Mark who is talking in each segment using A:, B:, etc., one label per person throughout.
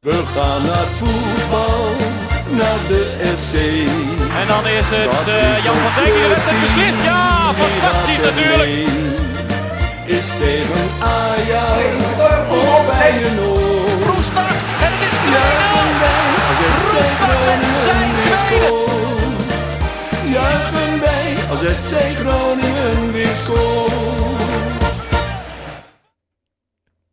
A: We gaan naar voetbal, naar de FC.
B: En dan is het
A: Dat
B: eh,
A: is
B: Jan
A: ons
B: van Dijk die redt het
A: clubteam,
B: beslist. Ja,
A: die
B: fantastisch
A: gaat er
B: natuurlijk.
A: mee. Is tegen Ajax of bij een oor.
C: Roestak en het is 2-0.
A: Juichen wij als FC
C: Roestak met zijn
A: Groningen weer
C: tweede.
A: scoort. Juichen wij als FC Groningen weer scoort.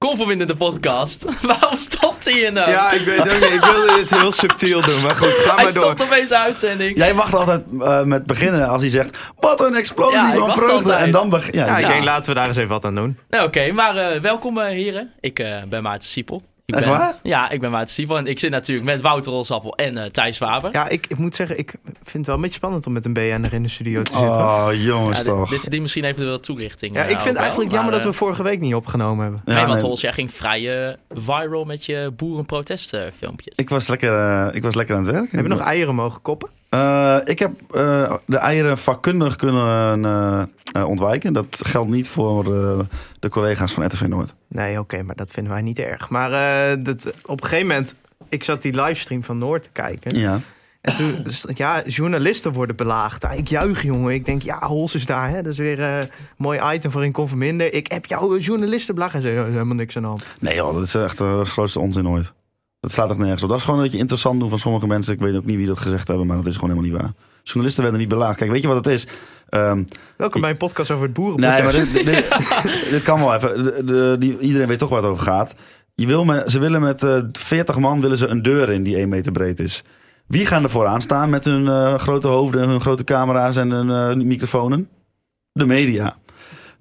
D: Conformindende podcast. Waarom stopt hij je nou?
E: Ja, ik weet ook niet. Ik wilde dit heel subtiel doen, maar goed, ga
D: hij
E: maar door.
D: stopt opeens de uitzending.
F: Jij wacht altijd eh, met beginnen als hij zegt: Wat een explosie
D: Ja, ik
F: van
D: wacht
F: vreugde.
D: altijd.
F: En dan begin ja,
E: Ja, ik
D: Ja.
E: denk laten we daar eens even wat aan doen.
D: Nou, Oké, maar eh, welkom eh, heren. Ik eh, ben Maarten Siepel. Ik
F: Echt
D: ben,
F: waar?
D: Ja, ik ben Maarten Siepel en ik zit natuurlijk met Wouter Olsappel en eh, Thijs Waber.
E: Ja, ik, ik moet zeggen, ik vind het wel een beetje spannend om met een BN'er in de studio te zitten.
F: Oh, jongens
D: Ja, dit-
F: toch.
D: dit verdient misschien even wel toelichting.
E: ja, eh,
D: eh,
E: ik vind
D: ook
E: het
D: wel,
E: eigenlijk jammer
D: maar,
E: dat we vorige week niet opgenomen hebben.
D: eh,
F: Ja,
D: nee, want
F: nee.
D: Hols, jij ging vrij eh, viral met je boerenprotestfilmpjes.
F: Ik was, lekker, eh, ik was lekker aan het werk.
E: Hebben we nog eieren mogen koppen?
F: Eh, ik heb eh, de eieren vakkundig kunnen eh, eh, ontwijken. Dat geldt niet voor eh, de collega's van RTV Noord.
E: Nee, oké, maar dat vinden wij niet erg. Maar eh, dat, op een gegeven moment, ik zat die livestream van Noord te kijken.
F: Ja.
E: En toen, dus, ja, journalisten worden belaagd. Ah, Ik juich, jongen. Ik denk, ja, Hols is daar. Hè? Dat is weer eh, een mooi item voor in Conforminder. Ik heb jouw journalisten belaagd. Hij zei, "Ja, er is helemaal niks aan de hand.
F: Nee joh, dat is echt eh, de grootste onzin ooit. Dat slaat echt nergens op. Dat is gewoon dat je interessant doet van sommige mensen. Ik weet ook niet wie dat gezegd hebben, maar dat is gewoon helemaal niet waar. Journalisten werden niet belaagd. Kijk, weet je wat het is? Ehm,
E: Welkom bij een podcast over het boerenprotest.
F: nee, maar dit, dit, dit kan wel even. De, de- die, iedereen weet toch waar het over gaat. Je wil me, ze willen met eh 40 man willen ze een deur in die 1 meter breed is. Wie gaan er vooraan staan met hun eh, grote hoofden, hun grote camera's en hun eh, microfonen? De media.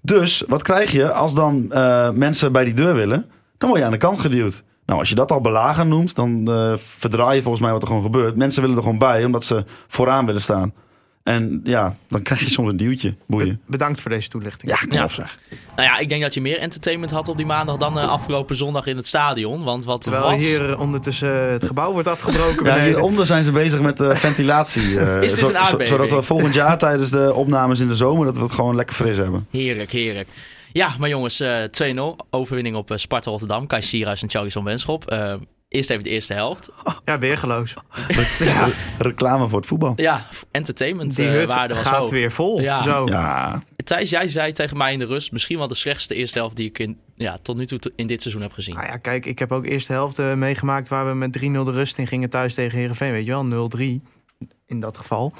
F: Dus wat krijg je als dan eh, mensen bij die deur willen? Dan word je aan de kant geduwd. Nou, als je dat al belagen noemt, dan eh, verdraai je volgens mij wat er gewoon gebeurt. Mensen willen er gewoon bij, omdat ze vooraan willen staan. En ja, dan krijg je soms een duwtje. Boeien.
E: Be- Bedankt voor deze toelichting.
F: Ja, kom
D: Ja.
F: op zeg.
D: Nou ja, ik denk dat je meer entertainment had op die maandag dan eh, afgelopen zondag in het stadion. Want wat
E: Terwijl
D: was...
E: hier eh, ondertussen eh, het gebouw wordt afgebroken.
F: Ja,
E: beneden.
F: hieronder zijn ze bezig met eh, ventilatie. eh,
D: Is dit een aardbeving?
F: zodat we volgend jaar tijdens de opnames in de zomer dat we het gewoon lekker fris hebben.
D: Heerlijk, heerlijk. Ja, maar jongens, eh, 2-0. Overwinning op eh, Sparta Rotterdam. Kai Sierhuis en Charlie Wenschop. Eh, eerst even de eerste helft.
E: Ja, weergeloos.
F: Reclame voor het voetbal.
D: Ja, f- entertainment
E: Die
D: eh,
E: hut
D: waarde was
E: gaat
D: hoog.
E: weer vol.
D: Ja.
E: Zo.
F: Ja,
D: Thijs, jij zei tegen mij in de rust... misschien wel de slechtste eerste helft die ik in, ja, tot nu toe to- in dit seizoen heb gezien.
E: Nou ja, kijk, ik heb ook eerst de helft eh, meegemaakt waar we met 3-0 de rust in gingen thuis tegen Herenveen. Weet je wel, 0-3 in dat geval.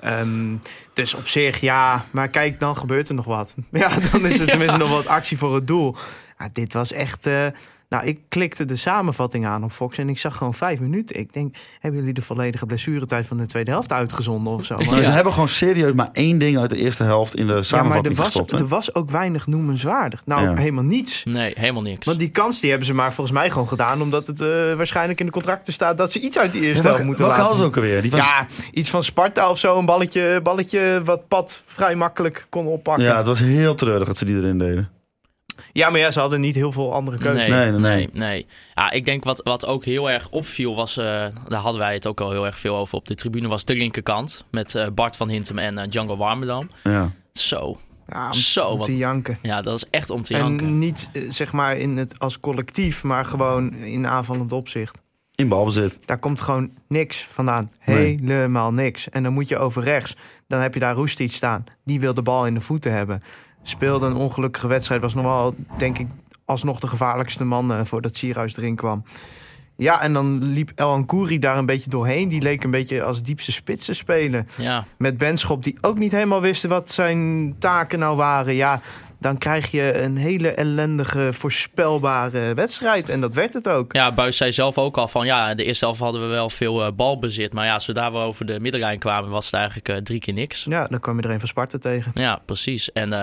E: Ehm, dus op zich, ja. Maar kijk, dan gebeurt er nog wat. Ja, dan is er tenminste nog wat actie voor het doel. Ja, dit was echt... eh, nou, ik klikte de samenvatting aan op Fox en ik zag gewoon vijf minuten. Ik denk, hebben jullie de volledige blessuretijd van de tweede helft uitgezonden of zo?
F: maar Nou, ze hebben gewoon serieus maar één ding uit de eerste helft in de
E: Ja, maar er
F: samenvatting
E: was,
F: gestopt. hè?
E: er was ook weinig noemenswaardig. Nou,
F: Ja.
E: helemaal niets.
D: Nee, helemaal niks.
E: Want die kans die hebben ze maar volgens mij gewoon gedaan. Omdat het eh, waarschijnlijk in de contracten staat dat ze iets uit die
F: Ja,
E: eerste
F: welke-
E: helft moeten
F: welke
E: laten.
F: hadden ze ook alweer? Die was, ja,
E: Ja, iets van Sparta of zo. Een balletje, balletje wat Pat vrij makkelijk kon oppakken. Ja,
F: het was heel treurig dat ze die erin deden.
E: maar ja, ze hadden niet heel veel andere keuzes.
D: Nee,
F: Nee,
D: nee,
F: nee,
D: nee.
F: nee.
D: Ja, ik denk wat, wat ook heel erg opviel was... eh, daar hadden wij het ook al heel erg veel over op de tribune... was de linkerkant met eh, Bart van Hintem en eh, Django Warmerdam.
F: Ja.
D: Zo.
E: Ja, om,
D: Zo,
E: om
D: wat-
E: te janken.
D: Ja, dat is echt om te janken.
E: En niet eh, zeg maar in het, als collectief, maar gewoon in aanvallend opzicht.
F: In balbezit.
E: Daar komt gewoon niks vandaan.
F: Nee.
E: Helemaal niks. En dan moet je over rechts. Dan heb je daar Roestic staan. Die wil de bal in de voeten hebben. Speelde een ongelukkige wedstrijd. Was nog wel, denk ik, alsnog de gevaarlijkste man eh, voordat Sierhuis erin kwam. Ja, en dan liep El Ankouri daar een beetje doorheen. Die leek een beetje als diepste spits te spelen.
D: Ja,
E: Met Benschop, die ook niet helemaal wisten wat zijn taken nou waren. Ja, dan krijg je een hele ellendige, voorspelbare wedstrijd. En dat werd het ook.
D: ja Buis zei zelf ook al van... ja, de eerste helft hadden we wel veel eh, balbezit... maar ja, zodra we over de middenlijn kwamen... was het eigenlijk eh, drie keer niks.
E: Ja, dan kwam je er een van Sparta tegen.
D: Ja, precies. En eh,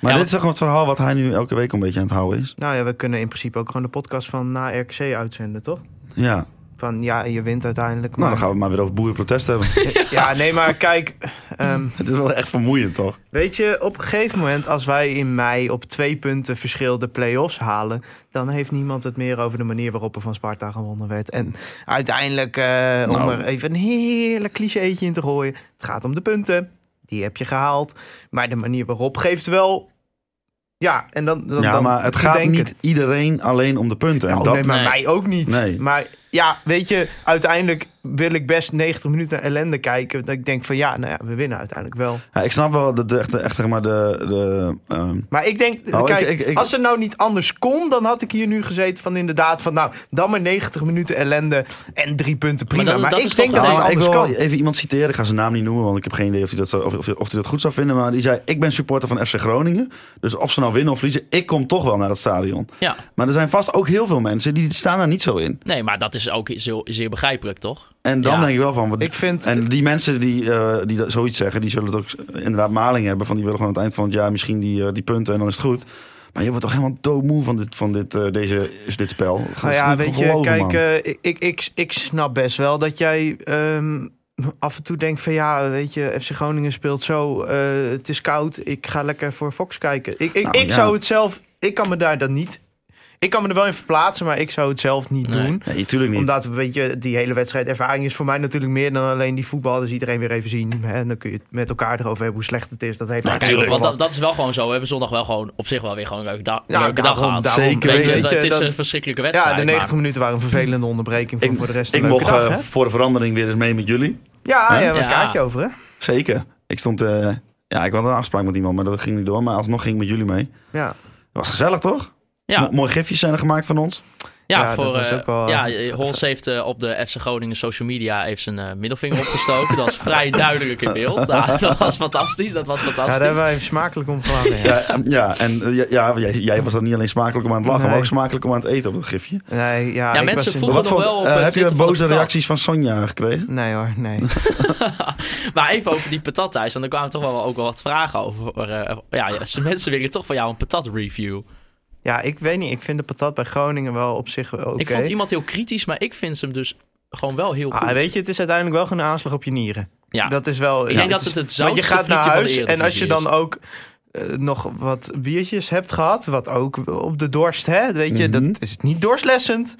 F: Maar
D: Ja,
F: dit is toch het verhaal wat hij nu elke week een beetje aan het houden is.
E: Nou ja, we kunnen in principe ook gewoon de podcast van na RKC uitzenden, toch?
F: Ja.
E: Van ja, je wint uiteindelijk.
F: Nou,
E: Maar...
F: dan gaan we het maar weer over boerenprotest hebben.
E: Ja, nee, maar kijk. ehm,
F: het is wel echt vermoeiend, toch?
E: weet je, op een gegeven moment, als wij in mei op twee punten verschil de play-offs halen. dan heeft niemand het meer over de manier waarop er van Sparta gewonnen werd. En uiteindelijk, eh, om
F: Nou.
E: er even een heerlijk clichéetje in te gooien. Het gaat om de punten. Die heb je gehaald. Maar de manier waarop geeft wel. Ja, en dan. dan
F: ja,
E: dan
F: maar het
E: te
F: gaat
E: denken.
F: niet iedereen alleen om de punten.
E: Ja,
F: en
E: oh,
F: dat,
E: nee, maar
D: Nee.
E: mij ook niet.
F: Nee.
E: Maar ja, weet je, uiteindelijk wil ik best 90 minuten ellende kijken. Dat ik denk van ja, nou ja, we winnen uiteindelijk wel.
F: Ja, ik snap wel dat de echte, echt, zeg maar de. de ehm,
E: Maar ik denk,
F: Oh,
E: kijk,
F: ik- ik- ik-
E: als er nou niet anders kon, dan had ik hier nu gezeten van inderdaad van nou, dan maar 90 minuten ellende en drie punten prima. Maar,
D: dat- dat
E: ik
D: is
E: denk
D: toch
E: dat
F: nou,
E: het
D: wel-
F: maar ik
E: anders
F: wil
E: kan.
F: even iemand citeren. Ik ga zijn naam niet noemen, want ik heb geen idee of hij dat, zou, of, of, of hij dat goed zou vinden. Maar die zei: Ik ben supporter van FC Groningen. Dus of ze nou winnen of verliezen, ik kom toch wel naar het stadion.
D: Ja.
F: Maar er zijn vast ook heel veel mensen die staan daar niet zo in.
D: Nee, maar dat is ook zeer, zeer begrijpelijk, toch?
F: En dan
D: Ja.
F: denk ik wel van. Wat,
E: Ik vind-
F: en die mensen die, eh, die dat, zoiets zeggen, die zullen het ook eh, inderdaad maling hebben. Van die willen gewoon aan het eind van het jaar misschien die, eh, die punten en dan is het goed. Maar je wordt toch helemaal doodmoe van dit, van dit, eh, deze, is dit spel. Dat is
E: Nou ja,
F: niet te
E: weet je,
F: geloven,
E: kijk,
F: man.
E: eh, ik, ik, ik, ik snap best wel dat jij ehm, af en toe denkt van ja, weet je, FC Groningen speelt zo, eh, het is koud, ik ga lekker voor Fox kijken. Ik, ik,
F: Nou,
E: ik
F: ja.
E: zou het zelf, ik kan me daar dan niet, ik kan me er wel in verplaatsen, maar ik zou het zelf niet
D: Nee.
E: doen.
F: Nee, tuurlijk niet.
E: Omdat, weet je, die hele wedstrijd ervaring is voor mij natuurlijk meer dan alleen die voetbal. Dus iedereen weer even zien. Hè? En dan kun je het met elkaar erover hebben hoe slecht het is. Dat heeft
D: Kijk,
E: natuurlijk
D: want
E: wel
D: dat, dat is wel gewoon zo. We hebben zondag wel gewoon op zich wel weer gewoon een leuke, da-
E: Ja,
D: leuke dag
E: daarom,
D: gehad.
E: daarom.
F: Zeker
D: Weet je,
F: weten.
D: het, het is
E: dat-
D: een verschrikkelijke
E: wat. Ja,
D: wedstrijd.
E: de 90
D: maar-
E: minuten waren een vervelende onderbreking voor,
F: Ik-
E: voor de rest
F: ik
E: een leuke
F: mocht
E: dag,
F: eh,
E: hè?
F: voor de verandering weer eens mee met jullie.
E: Ja,
F: Hè?
E: ja, we
D: Ja.
E: een kaartje over, hè?
F: Zeker. Ik stond. eh, ja, ik had een afspraak met iemand, maar dat ging niet door. Maar alsnog ging ik met jullie mee.
E: Ja.
F: was gezellig, toch?
D: ja,
F: Mo- mooie gifjes zijn er gemaakt van ons.
D: ja,
E: ja,
D: voor,
E: dat was
D: eh,
E: ook wel-
D: ja, eh, Hols heeft eh, op de FC Groningen social media heeft zijn eh, middelvinger opgestoken. dat is vrij duidelijk in beeld. Ja, dat was fantastisch. Dat was
E: Ja, daar hebben
D: fantastisch.
E: wij hem smakelijk om gelachen. ja.
F: Ja, en- ja en eh, ja, ja, jij, jij was dan niet alleen smakelijk om aan het lachen, maar
E: Nee.
F: ook smakelijk om aan het eten op dat gifje.
E: Nee, ja,
D: Ja,
E: ik
D: mensen
E: was in-
D: vroegen-
F: Wat
D: nog
F: vond-
D: wel op,
F: eh,
D: eh,
F: heb je
D: Twitter van
F: boze
D: de betaal.
F: reacties van Sonja gekregen?
E: Nee hoor, nee.
D: Maar even over die patat thuis. Want er kwamen toch wel ook wel wat vragen over. eh, ja, ja, ze- mensen willen toch van jou een patat review.
E: Ja, ik weet niet. Ik vind de patat bij Groningen wel op zich wel oké.
D: Ik vond iemand heel kritisch, maar ik vind hem dus gewoon wel heel goed.
E: Ah, weet je, het is uiteindelijk wel gewoon een aanslag op je nieren.
D: ja.
E: Dat is wel...
D: Ik denk dat het het
E: is-
D: zoutste
E: Want je gaat naar
D: frietje van de
E: huis en als je
D: Eredivisie
E: dan ook eh, nog wat biertjes hebt gehad, wat ook op de dorst, hè, weet je,
F: Mhm.
E: dat is niet dorstlessend.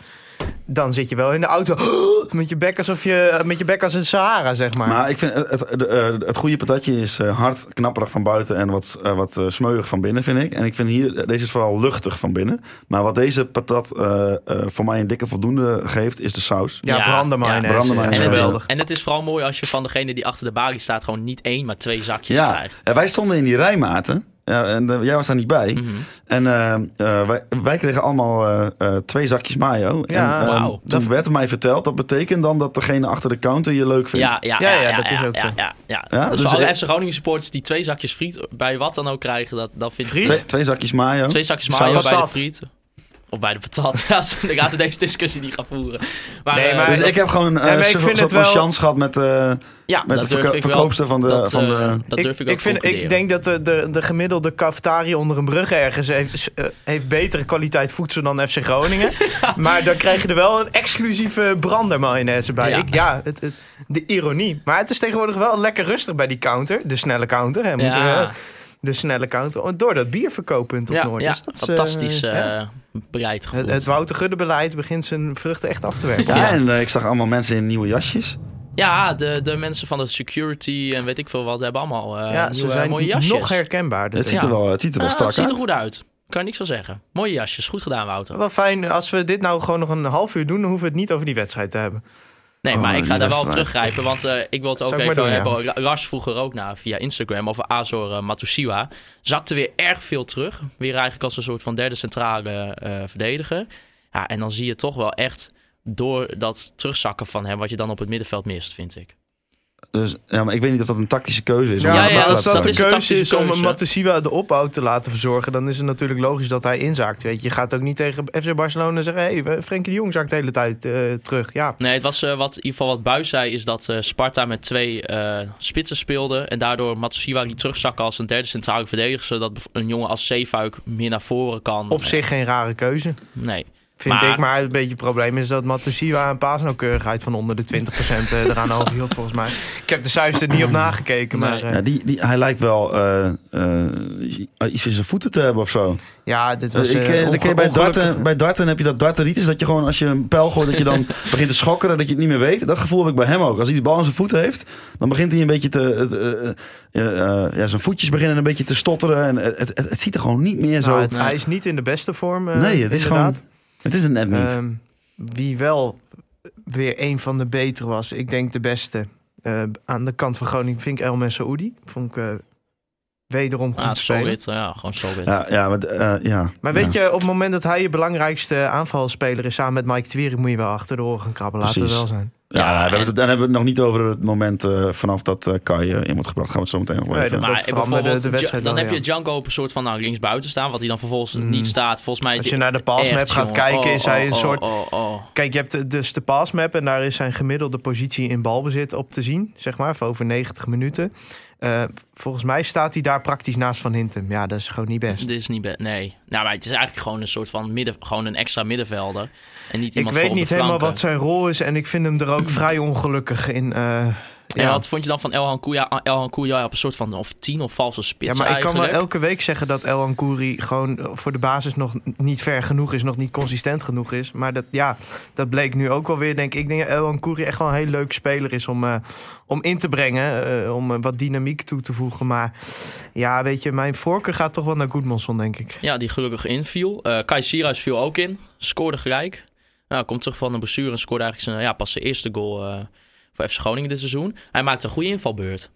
E: Dan zit je wel in de auto met je bek alsof je met je bek als een Sahara, zeg maar.
F: Maar ik vind eh, het, de, eh, het goede patatje is eh, hard, knapperig van buiten en wat, eh, wat eh, smeuig van binnen, vind ik. En ik vind hier, eh, deze is vooral luchtig van binnen. Maar wat deze patat eh, eh, voor mij een dikke voldoende geeft, is de saus.
E: ja,
D: Ja,
E: branden
D: ja,
E: mayonaise.
F: brandemayonaise.
E: is
D: En het,
E: geweldig.
D: is, en het is vooral mooi als je van degene die achter de balie staat gewoon niet één, maar twee zakjes
F: Ja,
D: krijgt.
F: eh, wij stonden in die rijmaten. Ja, en eh, jij was daar niet bij.
D: Mhm.
F: En eh, eh, wij, wij kregen allemaal eh, eh, twee zakjes mayo.
E: Ja,
F: en, eh,
D: wauw.
F: Toen
E: Dat-
F: werd mij verteld, dat betekent dan dat degene achter de counter je leuk vindt.
D: Ja, ja,
E: Ja,
D: ja,
E: ja,
D: ja,
E: dat is
D: ja,
E: ook
D: ja,
E: zo.
D: ja, ja.
F: Ja,
D: Dus,
F: dus
D: voor alle
F: ik-
D: FC Groningen supporters die twee zakjes friet bij wat dan ook krijgen, dat, dat vind ik...
E: Friet?
F: Twee, twee zakjes mayo.
D: Twee zakjes
F: Saus.
D: mayo bij de
E: Patat.
D: friet. Of bij de patat. Ja, zo- dan gaan we deze discussie niet gaan voeren. Maar,
E: Nee,
D: eh,
E: maar-
F: Dus ik heb gewoon
E: maar
F: een
E: ik
F: soort
E: vind
F: van
E: het wel-
F: chance gehad met, eh,
D: ja, dat
F: met de
D: durf
F: verko-
D: ik wel.
F: verkoopster van de...
D: dat,
F: van de...
D: eh, dat durf ik, ook
E: vind, ik denk dat de, de, de gemiddelde cafetaria onder een brug ergens heeft, eh, heeft betere kwaliteit voedsel dan FC Groningen. Maar dan krijg je er wel een exclusieve brandermayonaise bij.
D: Ja.
E: Ja, ik, ja het, het- de ironie. Maar het is tegenwoordig wel lekker rustig bij die counter. De snelle counter. Hè, moeten we
D: Ja.
E: wel- de snelle counter. Oh, Door dat bierverkooppunt op
D: ja,
E: Noord.
D: ja,
E: Dus dat is, eh,
D: fantastisch eh
E: ja.
D: bereid gevoeld.
E: Het, het Wouter Gudde beleid begint zijn vruchten echt af te
F: Ja,
E: werken.
F: en eh, ik zag allemaal mensen in nieuwe jasjes.
D: Ja, de, de mensen van de security en weet ik veel wat hebben allemaal eh,
E: Ja, ze
D: nieuwe,
E: zijn
D: mooie jasjes.
E: nog herkenbaarder.
F: Het ziet er wel, het ziet er wel
D: Ah,
F: strak
D: het ziet
F: uit.
D: er goed uit. Kan er niks van zeggen. Mooie jasjes. Goed gedaan, Wouter.
E: Wel fijn, als we dit nou gewoon nog een half uur doen, dan hoeven we het niet over die wedstrijd te hebben.
D: Nee, maar
F: Oh,
D: ik ga daar wel op
F: wedstrijd.
D: teruggrijpen. Want eh, ik wil het ook
E: Zou ik
D: even
E: maar doen,
D: hebben. La- Lars vroeg er ook naar via Instagram over Azor eh, Matusiwa. Zakte weer erg veel terug. Weer eigenlijk als een soort van derde centrale eh, verdediger. Ja, en dan zie je toch wel echt door dat terugzakken van hem... wat je dan op het middenveld mist, vind ik.
F: Dus, ja, maar ik weet niet of dat een tactische keuze is. om
E: Ja,
D: ja,
F: dat te
E: maar
F: laten
E: als
D: dat
E: dat,
F: staan.
E: de
D: is een
E: keuze is
D: tactische
E: om
D: keuze.
E: Matusiwa de opbouw te laten verzorgen, dan is het natuurlijk logisch dat hij inzaakt. Weet je. je gaat ook niet tegen FC Barcelona zeggen: hé, hey, Frenkie de Jong zakt de hele tijd eh, terug. Ja.
D: Nee, het was eh, wat, in ieder geval wat Buis zei, is dat eh, Sparta met twee eh, spitsen speelde. En daardoor Matsushima die terugzakken als een derde centrale verdediger. Zodat bev- een jongen als Zeefuik meer naar voren kan.
E: Op zich geen rare keuze,
D: Nee.
E: vind
D: Maar-
E: ik. Maar een beetje het probleem is dat Matusiwa een paasnauwkeurigheid van onder de 20% eh, eraan overhield, volgens mij. Ik heb de cijfers er niet op nagekeken, maar
D: Nee.
E: eh,
F: Ja, die, die, hij lijkt wel eh, eh, iets in zijn voeten te hebben of zo.
E: ja, dit was.
F: ik,
E: eh,
F: eh, dan ken je bij,
E: onge-
F: darten, bij darten heb je dat darteritis, dat je gewoon als je een pijl gooit, dat je dan begint te schokkeren, dat je het niet meer weet. Dat gevoel heb ik bij hem ook. Als hij die bal aan zijn voet heeft, dan begint hij een beetje te. het, eh, eh, eh, ja, zijn voetjes beginnen een beetje te stotteren. En het, het, het ziet er gewoon niet meer zo.
E: Nou, het-
D: Nee.
E: Hij is niet in de beste vorm. eh,
F: nee, het is
E: inderdaad.
F: gewoon. Het is het net niet.
E: Ehm, wie wel weer een van de betere was. Ik denk de beste. Eh, aan de kant van Groningen vind ik Elmer Saoudi. Vond ik eh, wederom goed
D: Ah,
E: te spelen.
D: solid. Ja, gewoon solid.
F: Ja, ja, maar, eh, ja.
E: Maar weet je, op het moment dat hij je belangrijkste aanvalspeler is... samen met Mike Twierik, moet je wel achter de oren gaan krabben. Laten we
F: Precies.
E: wel zijn.
F: Ja,
D: Ja,
F: daar hebben we
D: en-
F: het- dan hebben we het nog niet over het moment eh, vanaf dat eh, Kai eh, in wordt gebracht. Gaan we het zo meteen nog wel
E: Nee,
F: even.
E: dat-
D: Maar
E: veranderde
D: bijvoorbeeld,
E: de wedstrijd
D: dan
E: wel,
D: heb
E: ja. Mm.
D: je Django op een soort van nou, linksbuiten staan, wat hij dan vervolgens niet staat. Volgens mij
E: Als je naar de passmap
D: Echt,
E: gaat
D: jongen.
E: kijken, is hij een soort-
D: Oh, oh.
E: Kijk, je hebt eh, dus de passmap en daar is zijn gemiddelde positie in balbezit op te zien, zeg maar, voor over 90 minuten. Eh, volgens mij staat hij daar praktisch naast Van Hintem. Ja, dat is gewoon niet best.
D: Dit is niet be- Nee. Nou, maar het is eigenlijk gewoon een soort van midden, gewoon een extra middenvelder. En niet
E: Ik
D: iemand
E: weet
D: voor op de
E: niet helemaal
D: flanken. Hmm.
E: wat zijn rol is en ik vind hem er ook vrij ongelukkig in. eh,
D: En
E: ja.
D: wat vond je dan van Elhan Kouya? Elhan Kouya op een soort van of tien of valse spits
E: ja, maar ik kan wel
D: eigenlijk?
E: elke week zeggen dat El Ankouri gewoon eh, voor de basis nog n- niet ver genoeg is, nog niet consistent genoeg is. Maar dat, ja, dat bleek nu ook wel weer, denk ik. Ik denk dat El Ankouri echt wel een heel leuk speler is om, eh, om in te brengen, eh, om eh, wat dynamiek toe te voegen. Maar ja, weet je, mijn voorkeur gaat toch wel naar Goodmanson, denk ik.
D: Ja, die gelukkig inviel. Eh Kai Sierhuis viel ook in. Scoorde gelijk. Nou, komt terug van de blessure en scoorde eigenlijk zijn, ja, pas zijn eerste goal eh, voor FC Groningen dit seizoen. Hij maakte een goede invalbeurt.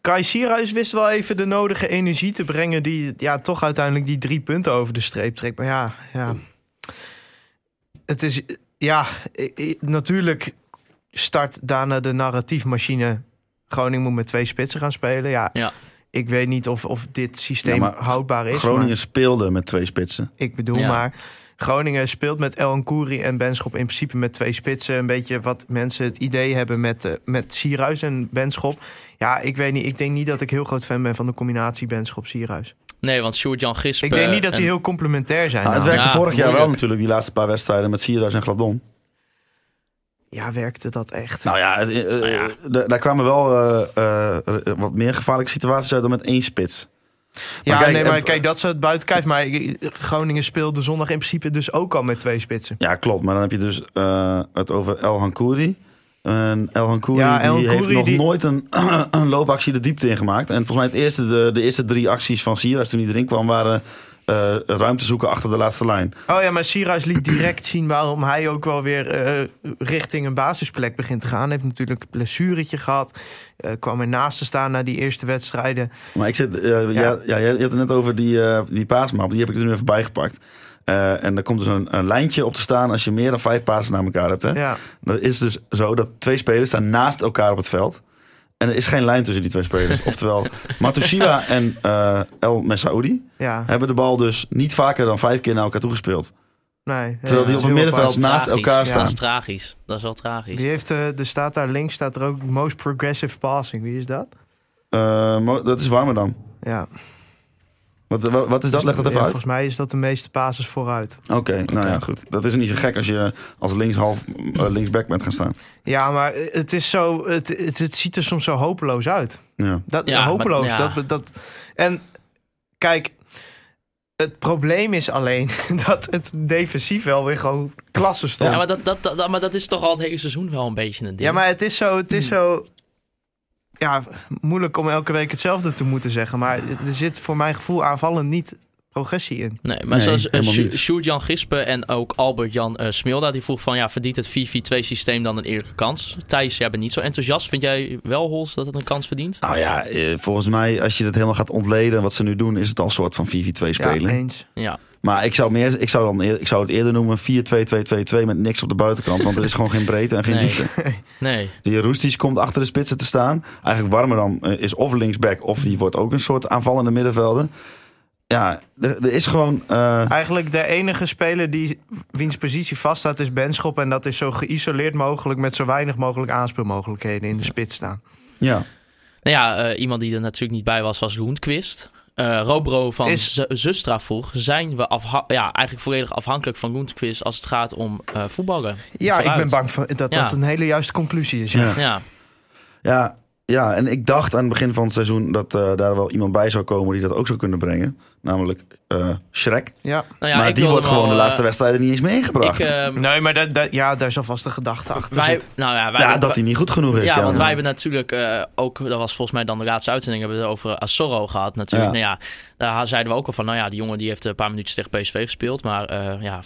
E: Kai Sierhuis wist wel even de nodige energie te brengen... die ja, toch uiteindelijk die drie punten over de streep trekt. Maar ja, ja. het is... Ja, i- i- natuurlijk start daarna de narratiefmachine... Groningen moet met twee spitsen gaan spelen. Ja,
D: Ja.
E: ik weet niet of, of dit systeem
F: Ja, maar
E: houdbaar is.
F: Groningen
E: maar
F: speelde met twee spitsen.
E: ik bedoel
D: Ja.
E: maar... Groningen speelt met El Kouri en Benschop in principe met twee spitsen. Een beetje wat mensen het idee hebben met, eh, met Sierhuis en Benschop. Ja, ik weet niet. Ik denk niet dat ik heel groot fan ben van de combinatie Benschop-Sierhuis.
D: Nee, want Sjoerd-Jan Gispen...
E: Ik denk niet dat die
D: en-
E: heel complementair zijn.
F: Nou, het
E: nou.
F: werkte
D: Ja,
F: vorig jaar wel
D: moeilijk.
F: natuurlijk, die laatste paar wedstrijden met Sierhuis en Gladon.
E: Ja, werkte dat echt?
F: Nou ja, eh, eh, d- daar kwamen wel eh, eh, wat meer gevaarlijke situaties uit dan met één spits.
E: ja,
F: kijk,
E: nee, maar
F: en-
E: kijk, dat ze het buiten kijf. Maar eh, Groningen speelde zondag in principe dus ook al met twee spitsen.
F: Ja, klopt. Maar dan heb je dus eh, het over El Hankouri. En El Hankouri
E: Ja,
F: die
E: El
F: heeft
E: Hankouri
F: nog
E: die-
F: nooit een, een loopactie de diepte in gemaakt. En volgens mij het eerste, de, de eerste drie acties van Sierhuis toen hij erin kwam waren eh, ruimte zoeken achter de laatste lijn.
E: Oh ja, maar Sierhuis liet direct zien waarom hij ook wel weer eh, richting een basisplek begint te gaan. Heeft natuurlijk een blessuretje gehad. eh, kwam er naast te staan na die eerste wedstrijden.
F: Maar ik zit, eh, ja. Ja, jij- je had het net over die, eh, die paasmap. Die heb ik er nu even bijgepakt. Eh, en er komt dus een, een lijntje op te staan als je meer dan vijf pasen naar elkaar hebt. Hè?
E: Ja.
F: Dat is dus zo dat twee spelers staan naast elkaar op het veld. En er is geen lijn tussen die twee spelers. Oftewel, Matoshiwa en eh, El Messaoudi
E: Ja,
F: hebben de bal dus niet vaker dan vijf keer naar elkaar toegespeeld.
E: nee. ja,
F: Terwijl die
E: dat
F: op het
E: is heel
F: middenveld
E: apart.
F: naast
D: Tragisch.
F: elkaar
E: ja.
D: Dat
F: staan.
D: is tragisch. Dat is wel tragisch.
E: Die heeft, eh, er staat daar links staat er ook most progressive passing. Wie is dat?
F: Eh, mo- dat is Warmerdam.
E: Ja. Dus
F: Wat, wat, wat is Dus dat? Leg dat even
E: Ja,
F: uit.
E: Volgens mij is dat de meeste basis vooruit.
F: Oké, nou ja, goed. Dat is niet zo gek als je als linkshalf eh, linksback bent gaan staan.
E: Ja, maar eh, het is zo. Het, het, het ziet er soms zo hopeloos uit.
F: Ja.
E: Dat,
D: Ja, maar-
E: hopeloos.
D: ja.
E: Dat, dat, en kijk, het probleem is alleen dat het defensief wel weer gewoon klasse stond.
D: Ja, maar dat, dat, dat, maar dat is toch al het hele seizoen wel een beetje een ding.
E: Ja, maar het is zo. Het is zo ja, moeilijk om elke week hetzelfde te moeten zeggen. Maar er zit voor mijn gevoel aanvallend niet progressie in.
D: Nee, maar
F: Nee,
D: zoals eh,
F: helemaal
D: Sjo-
F: niet.
D: Sjoerd-Jan Gispen en ook Albert-Jan eh Smilda... die vroeg van, ja, verdient het 4-4-2-systeem dan een eerlijke kans? Thijs, jij bent niet zo enthousiast. Vind jij wel, Hols, dat het een kans verdient?
F: Nou ja, eh, volgens mij, als je dat helemaal gaat ontleden, wat ze nu doen, is het al een soort van 4-4-2 spelen.
E: Ja, eens.
D: Ja.
F: Maar ik zou, meer, ik, zou dan, eer- ik zou het eerder noemen 4-2-2-2-2 met niks op de buitenkant. Want er is gewoon geen breedte en geen
D: Nee.
F: diepte.
D: Nee.
F: Die Roesties komt achter de spitsen te staan. Eigenlijk Warmerdam eh, is of linksback of die wordt ook een soort aanvallende middenvelder. Ja, er, er is gewoon... eh,
E: Eigenlijk de enige speler die wiens positie vaststaat is Benschop. En dat is zo geïsoleerd mogelijk met zo weinig mogelijk aanspeelmogelijkheden in de spits staan.
F: ja,
D: Nou ja, eh, iemand die er natuurlijk niet bij was, was Loenquist. Eh Robro van
E: Is-
D: Z- Zustra vroeg, zijn we afha- ja, eigenlijk volledig afhankelijk van Loenquist als het gaat om eh voetballen?
E: Ja, ik
D: Vooruit.
E: ben bang van, dat
D: Ja.
E: dat een hele juiste conclusie is. Ja.
F: Ja.
D: Ja,
F: ja, ja, en ik dacht aan het begin van het seizoen dat eh, daar wel iemand bij zou komen die dat ook zou kunnen brengen. Namelijk eh Shrek.
E: Ja.
D: nou ja
F: maar
D: ik
F: die
D: wil
F: wordt
D: hem wel,
F: gewoon de
D: eh,
F: laatste wedstrijden niet eens meer ingebracht.
D: Ik, eh,
E: Nee, maar dat, dat- ja, daar zal vast een gedachte achter
D: wij,
E: zitten.
D: nou ja, wij,
F: ja, dat hij niet goed genoeg is.
D: Ja, want
F: kennelijk.
D: wij hebben natuurlijk eh, ook, dat was volgens mij dan de laatste uitzending, hebben we het over Asoro gehad natuurlijk.
F: Ja.
D: Nou ja, daar zeiden we ook al van, nou ja, die jongen die heeft een paar minuutjes tegen PSV gespeeld, maar eh, ja,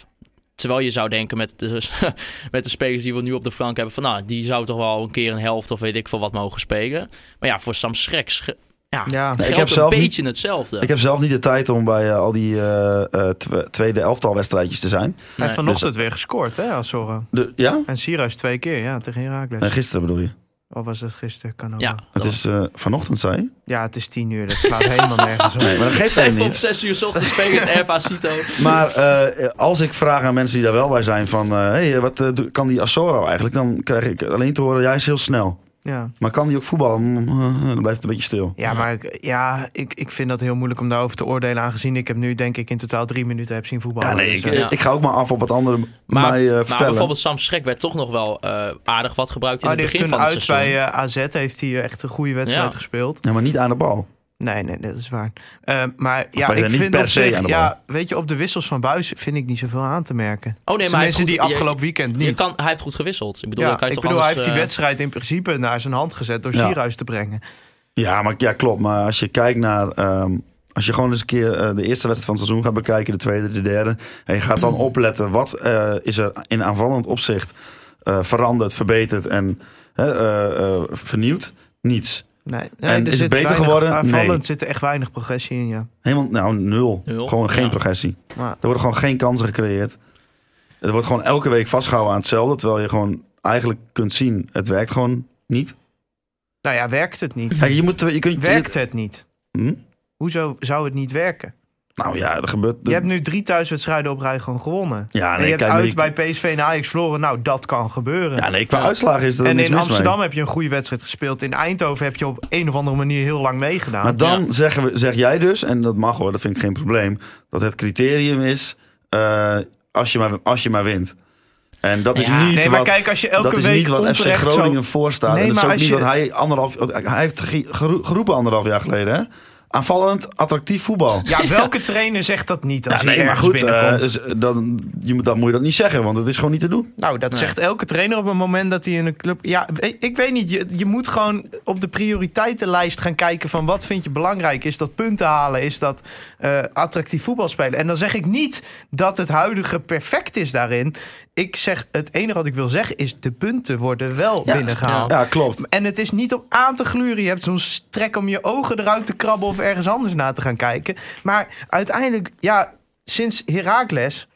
D: Terwijl je zou denken met de, met de spelers die we nu op de flank hebben... van nou, die zou toch wel een keer een helft of weet ik veel wat mogen spelen. Maar ja, voor Sam Schrek sche- ja,
E: Ja.
D: geldt
E: Nee,
F: ik heb
D: een
F: zelf niet-
D: beetje hetzelfde.
F: Ik heb zelf niet de tijd om bij eh, al die eh, eh, tw- tweede elftal wedstrijdjes te zijn.
E: Hij heeft
D: Nee.
E: vanochtend weer gescoord, hè, Azorro.
F: De, ja?
E: En Sirius twee keer, ja, tegen Herakles.
F: Nee, Eh, gisteren bedoel je.
E: Of was dat gisteren? Kan ook.
D: ja,
E: wel.
F: Het is eh, vanochtend, zei je?
E: ja, het is tien uur. Dat slaat helemaal nergens op.
F: Nee, maar dat geeft
D: Hij
F: helemaal
D: vond
F: niet.
D: zes uur 's ochtends spelen het RFA Cito.
F: Maar eh, als ik vraag aan mensen die daar wel bij zijn van... eh, hey, wat eh, do- kan die Asoro eigenlijk? Dan krijg ik alleen te horen, jij is heel snel.
E: Ja.
F: Maar kan die ook voetballen? Mm, eh, dan blijft het een beetje stil.
E: Ja, maar ik, ja, ik, ik vind dat heel moeilijk om daarover te oordelen. Aangezien ik hem nu, denk ik, in totaal drie minuten heb zien voetballen.
F: Ja, nee,
E: Dus,
F: ik,
E: eh,
D: Ja.
F: ik ga ook maar af op wat anderen
D: Maar,
F: mij eh,
D: maar
F: vertellen.
D: bijvoorbeeld Sam Schrek werd toch nog wel eh, aardig wat gebruikt in
E: oh,
D: het
E: die heeft
D: begin
E: toen
D: van het
E: uit
D: seizoen.
E: bij eh, AZ heeft hij eh, echt een goede wedstrijd
D: Ja.
E: gespeeld.
F: Ja, maar niet aan de bal.
E: Nee, nee, dat is waar. Eh, maar ja,
F: ben je
E: ik
F: niet
E: vind
F: per
E: op
F: se
E: zich-
F: aan de bal?
E: ja, weet je, op de wissels van Buis vind ik niet zoveel aan te merken.
D: Oh nee, maar hij heeft
E: Mensen
D: goed,
E: die
D: je-
E: afgelopen weekend
D: je
E: niet.
D: kan, hij heeft goed gewisseld. Ik bedoel,
E: ja,
D: dan kan je
E: ik
D: toch
E: bedoel, hij heeft die
D: anders, eh,
E: wedstrijd in principe naar zijn hand gezet door
F: Ja.
E: Sierhuis te brengen.
F: Ja, maar, ja, klopt. Maar als je kijkt naar. ehm, als je gewoon eens een keer eh, de eerste wedstrijd van het seizoen gaat bekijken, de tweede, de derde. En je gaat dan opletten wat eh, is er in aanvallend opzicht eh, veranderd, verbeterd en hè, eh, eh, vernieuwd. Niets.
E: Nee,
F: En
E: er
F: is het
E: zit
F: beter
E: weinig-
F: geworden?
E: Aanvallend
F: Nee.
E: zit er echt weinig progressie in, ja.
F: Helemaal, nou, nul.
D: Nul,
F: Gewoon geen
D: ja.
F: progressie.
E: Maar-
F: Er worden gewoon geen kansen gecreëerd. Er wordt gewoon elke week vastgehouden aan hetzelfde. Terwijl je gewoon eigenlijk kunt zien, het werkt gewoon niet.
E: Nou ja, werkt het niet?
F: Kijk, je, moet, je kunt...
E: Werkt het niet?
F: Hm?
E: Hoezo zou het niet werken?
F: Nou ja, er gebeurt...
E: Je hebt nu drie thuiswedstrijden op rij gewoon gewonnen.
F: ja,
E: en je hebt
F: kijk,
E: uit
F: ik-
E: bij PSV en Ajax verloren. Nou, dat kan gebeuren.
F: Ja, nee, qua uitslagen is er
E: en
F: niks
E: in
F: mis mee.
E: Amsterdam heb je een goede wedstrijd gespeeld. In Eindhoven heb je op een of andere manier heel lang meegedaan.
F: Maar dan zeggen we, zeg jij dus, en dat mag hoor, dat vind ik geen probleem, dat het criterium is eh, als, je maar, als je maar wint. En dat is
D: Ja.
F: niet
E: nee, maar
F: wat,
E: kijk, als je elke
F: dat is
E: week
F: niet wat FC
E: onterecht zo-
F: Groningen voorstaat.
E: Nee,
F: en dat is
E: maar
F: ook
E: als
F: niet
E: je-
F: wat hij anderhalf, hij heeft ge- gero- geroepen anderhalf jaar geleden, hè? aanvallend attractief voetbal.
E: Ja, welke trainer zegt dat niet als
F: Ja,
E: hij
F: nee, maar
E: ergens
F: goed, eh,
E: binnenkomt?
F: dus, eh, dan, je, moet- dan moet je dat niet zeggen, want het is gewoon niet te doen.
E: nou, dat zegt elke trainer op het moment dat hij in een club... Ja, we- ik weet niet, je, je moet gewoon op de prioriteitenlijst gaan kijken van wat vind je belangrijk. Is dat punten halen? Is dat eh, attractief voetbal spelen? En dan zeg ik niet dat het huidige perfect is daarin. Ik zeg, het enige wat ik wil zeggen is de punten worden wel
F: Ja,
E: binnengehaald.
F: Ja, klopt.
E: En het is niet om aan te gluren. Je hebt zo'n trek om je ogen eruit te krabben of ergens anders naar te gaan kijken. Maar uiteindelijk, ja, sinds Herakles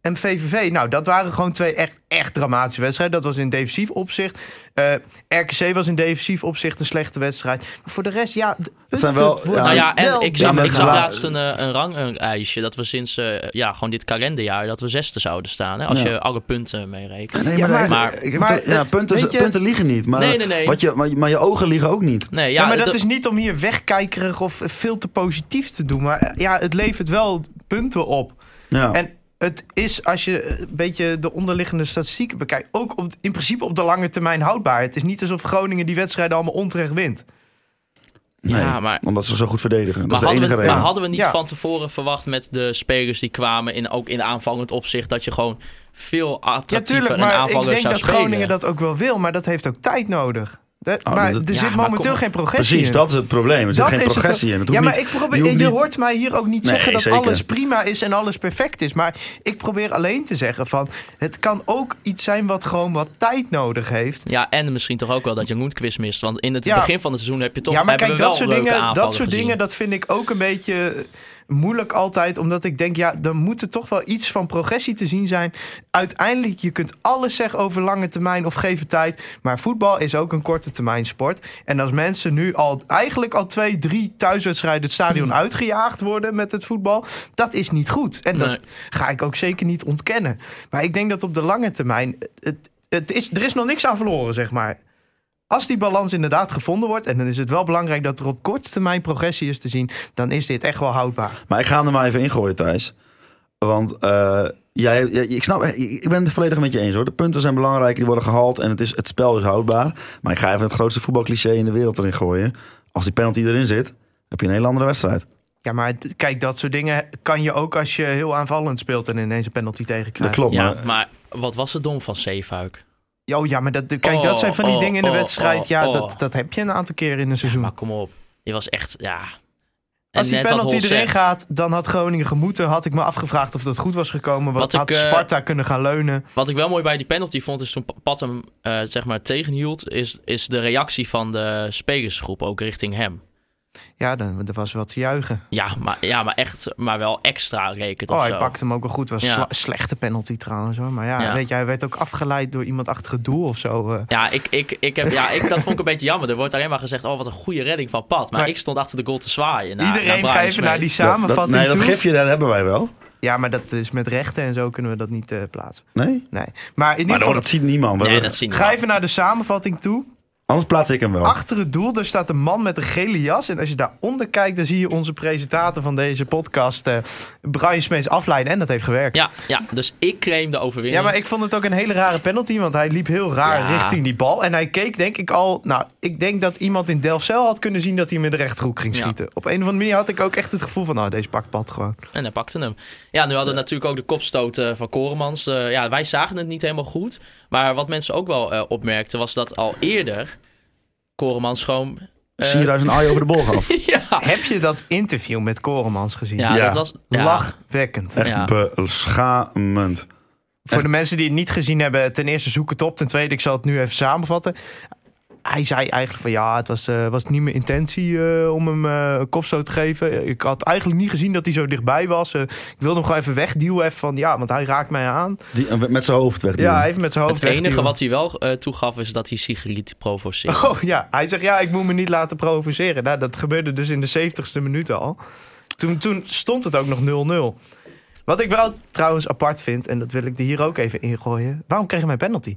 E: en VVV, nou, dat waren gewoon twee echt, echt dramatische wedstrijden. Dat was in defensief opzicht. Eh, RKC was in defensief opzicht een slechte wedstrijd. Maar voor de rest, ja, de
F: zijn
E: punten
F: wel-
E: worden
F: ja,
D: nou ja, en
E: wel
D: ik zag,
F: maar
D: ik zag
F: laat-
D: laatst een, eh, een ranglijstje dat we sinds eh, ja, gewoon dit kalenderjaar dat we zesde zouden staan. Hè, als
F: Ja.
D: je alle punten meerekent.
F: Nee,
E: Ja,
F: maar,
E: maar-
F: maar, ik heb
E: maar
F: het- ja,
E: het-
F: punten,
E: weet je-
F: punten liegen niet. Maar,
D: Nee, nee, nee.
F: Wat je, maar, je- maar je ogen liegen ook niet.
D: Nee, ja,
E: Ja, maar dat,
D: dat-
E: is niet om hier wegkijkerig of veel te positief te doen. Maar eh, ja, het levert wel punten op.
F: Ja.
E: En het is, als je eh, een beetje de onderliggende statistieken bekijkt, ook op, in principe op de lange termijn houdbaar. Het is niet alsof Groningen die wedstrijden allemaal onterecht wint.
F: Nee,
D: Ja, maar-
F: omdat ze zo goed verdedigen. Dat
D: maar,
F: is de
D: hadden
F: enige
D: we,
F: reden.
D: maar hadden we niet
E: Ja.
D: van tevoren verwacht met de spelers die kwamen, in, ook in aanvallend opzicht, dat je gewoon veel
E: Ja,
D: attractiever
E: tuurlijk,
D: en
E: maar
D: aanvaller
E: ik denk
D: zou
E: dat
D: spelen?
E: Groningen dat ook wel wil, maar dat heeft ook tijd nodig. Dat-
F: Oh,
E: maar
F: dat-
E: er
D: Ja,
E: zit
D: maar
E: momenteel
D: kom-
E: geen progressie
F: Precies,
E: in.
F: dat is het probleem. Er zit
E: Dat
F: geen
E: is het
F: progressie in. Het
E: ja,
F: hoeft
E: maar
F: niet-
E: ik probeer,
F: je
E: je,
F: hoeft niet-
E: hoort mij hier ook niet
F: Nee,
E: zeggen dat
F: zeker.
E: alles prima is en alles perfect is. Maar ik probeer alleen te zeggen van... het kan ook iets zijn wat gewoon wat tijd nodig heeft.
D: Ja, en misschien toch ook wel dat je een Moenquist mist. Want in het
E: Ja.
D: begin van het seizoen heb je toch
E: ja, maar
D: hebben
E: kijk,
D: we wel
E: dat soort,
D: leuke
E: dingen,
D: aanvallen
E: dat soort
D: gezien.
E: dingen, dat vind ik ook een beetje eh, moeilijk altijd. Omdat ik denk, ja, er moet er toch wel iets van progressie te zien zijn. Uiteindelijk, je kunt alles zeggen over lange termijn of geven tijd. Maar voetbal is ook een korte termijn sport. En als mensen nu al eigenlijk al twee, drie thuiswedstrijden het stadion
D: Hmm.
E: uitgejaagd worden met het voetbal, dat is niet goed. En dat
D: Nee.
E: ga ik ook zeker niet ontkennen. Maar ik denk dat op de lange termijn, eh, het, het is, er is nog niks aan verloren, zeg maar. Als die balans inderdaad gevonden wordt, en dan is het wel belangrijk dat er op korte termijn progressie is te zien, dan is dit echt wel houdbaar.
F: Maar ik ga hem er maar even ingooien, Thijs. Want eh, jij, jij- ik, snap, eh, ik ben het volledig met je eens hoor. De punten zijn belangrijk, die worden gehaald en het, is, het spel is houdbaar. Maar ik ga even het grootste voetbalcliché in de wereld erin gooien. Als die penalty erin zit, heb je een hele andere wedstrijd.
E: Ja, maar d- kijk, dat soort dingen kan je ook als je heel aanvallend speelt en ineens een penalty
F: Dat
E: tegenkrijgt.
F: klopt,
D: Ja,
F: maar
D: maar wat was het dom van Zeefuik?
E: Oh ja, maar dat, kijk, dat
D: Oh,
E: zijn van die
D: oh,
E: dingen in de
D: oh,
E: wedstrijd.
D: oh,
E: Ja,
D: oh.
E: dat, dat heb je een aantal keer in een seizoen.
D: Maar kom op. Die was echt, ja...
E: Als die
D: net wat
E: penalty
D: Hol
E: erin
D: zegt.
E: gaat, dan had Groningen gemoeten. Had ik me afgevraagd of dat goed was gekomen.
D: Wat
E: Wat,
D: ik,
E: had
D: eh,
E: Sparta kunnen gaan leunen?
D: Wat ik wel mooi bij die penalty vond, is toen Pat hem eh, zeg maar tegenhield, is, is de reactie van de spelersgroep ook richting hem.
E: Ja, dan, er was wat te juichen.
D: Ja, maar, ja, maar echt, maar wel extra rekent
E: Oh,
D: of
E: hij
D: zo.
E: pakte hem ook wel goed. was
D: Ja.
E: sla- slechte penalty trouwens. hoor. Maar ja,
D: Ja.
E: Weet je, hij werd ook afgeleid door iemand achter het doel of zo. eh.
D: Ja, ik, ik, ik heb, ja ik, dat vond ik een beetje jammer. Er wordt alleen maar gezegd, oh wat een goede redding van Pat. Maar
E: Maar-
D: ik stond achter de goal te zwaaien. naar-
E: Iedereen
D: naar
E: ga
D: Nou, Brian
E: even naar die
D: Smeet.
F: dat,
E: samenvatting
F: nee, dat
E: toe.
F: gifje dat hebben wij wel.
E: Ja, maar dat is met rechten en zo kunnen we dat niet eh, plaatsen.
F: Nee?
E: Nee. Maar in
F: Maar
E: ieder
F: dat,
E: geval,
F: dat ziet niemand.
D: Nee,
F: Dat-
D: dat zien we
E: ga
D: wel.
E: even naar de samenvatting toe.
F: Anders plaats ik hem wel.
E: Achter het doel, daar staat een man met een gele jas. En als je daaronder kijkt, dan zie je onze presentator van deze podcast... eh, Brian Smees afleiden. En dat heeft gewerkt.
D: Ja, ja, dus ik claim de overwinning.
E: Ja, maar ik vond het ook een hele rare penalty, want hij liep heel raar
D: Ja.
E: richting die bal. En hij keek denk ik al, nou, ik denk dat iemand in Delfzijl had kunnen zien dat hij hem in de rechterhoek ging
D: Ja.
E: schieten. Op een of andere manier had ik ook echt het gevoel van, nou, deze pakt pad gewoon.
D: En hij pakte hem. Ja, nu hadden we natuurlijk ook de kopstoot eh, van Koremans. Eh, ja, wij zagen het niet helemaal goed. Maar wat mensen ook wel eh, opmerkten, was dat al eerder Koremans gewoon... eh,
F: Sierhuis een aai over de bol gaf.
D: ja.
E: Heb je dat interview met Koremans gezien?
D: Ja,
F: Ja.
D: dat was... ja.
E: Lachwekkend.
F: Echt
D: Ja.
F: beschamend.
E: Voor de mensen die het niet gezien hebben, ten eerste zoek het op. Ten tweede, ik zal het nu even samenvatten. Hij zei eigenlijk van ja, het was, eh, was niet mijn intentie eh, om hem eh, een kopstoot te geven. Ik had eigenlijk niet gezien dat hij zo dichtbij was. Eh, ik wilde hem gewoon even wegduwen even van ja, want hij raakt mij aan.
F: Die, eh, met zijn hoofd weg.
E: Ja, even met zijn hoofd
D: Het enige
E: wegduwen.
D: wat hij wel eh, toegaf is dat hij Sigrid provoceerde.
E: Oh ja, hij zegt ja, ik moet me niet laten provoceren. Nou, dat gebeurde dus in de 70ste minuut al. Toen, toen stond het ook nog 0-0. Wat ik wel trouwens apart vind, en dat wil ik er hier ook even ingooien. Waarom kreeg hij mijn penalty?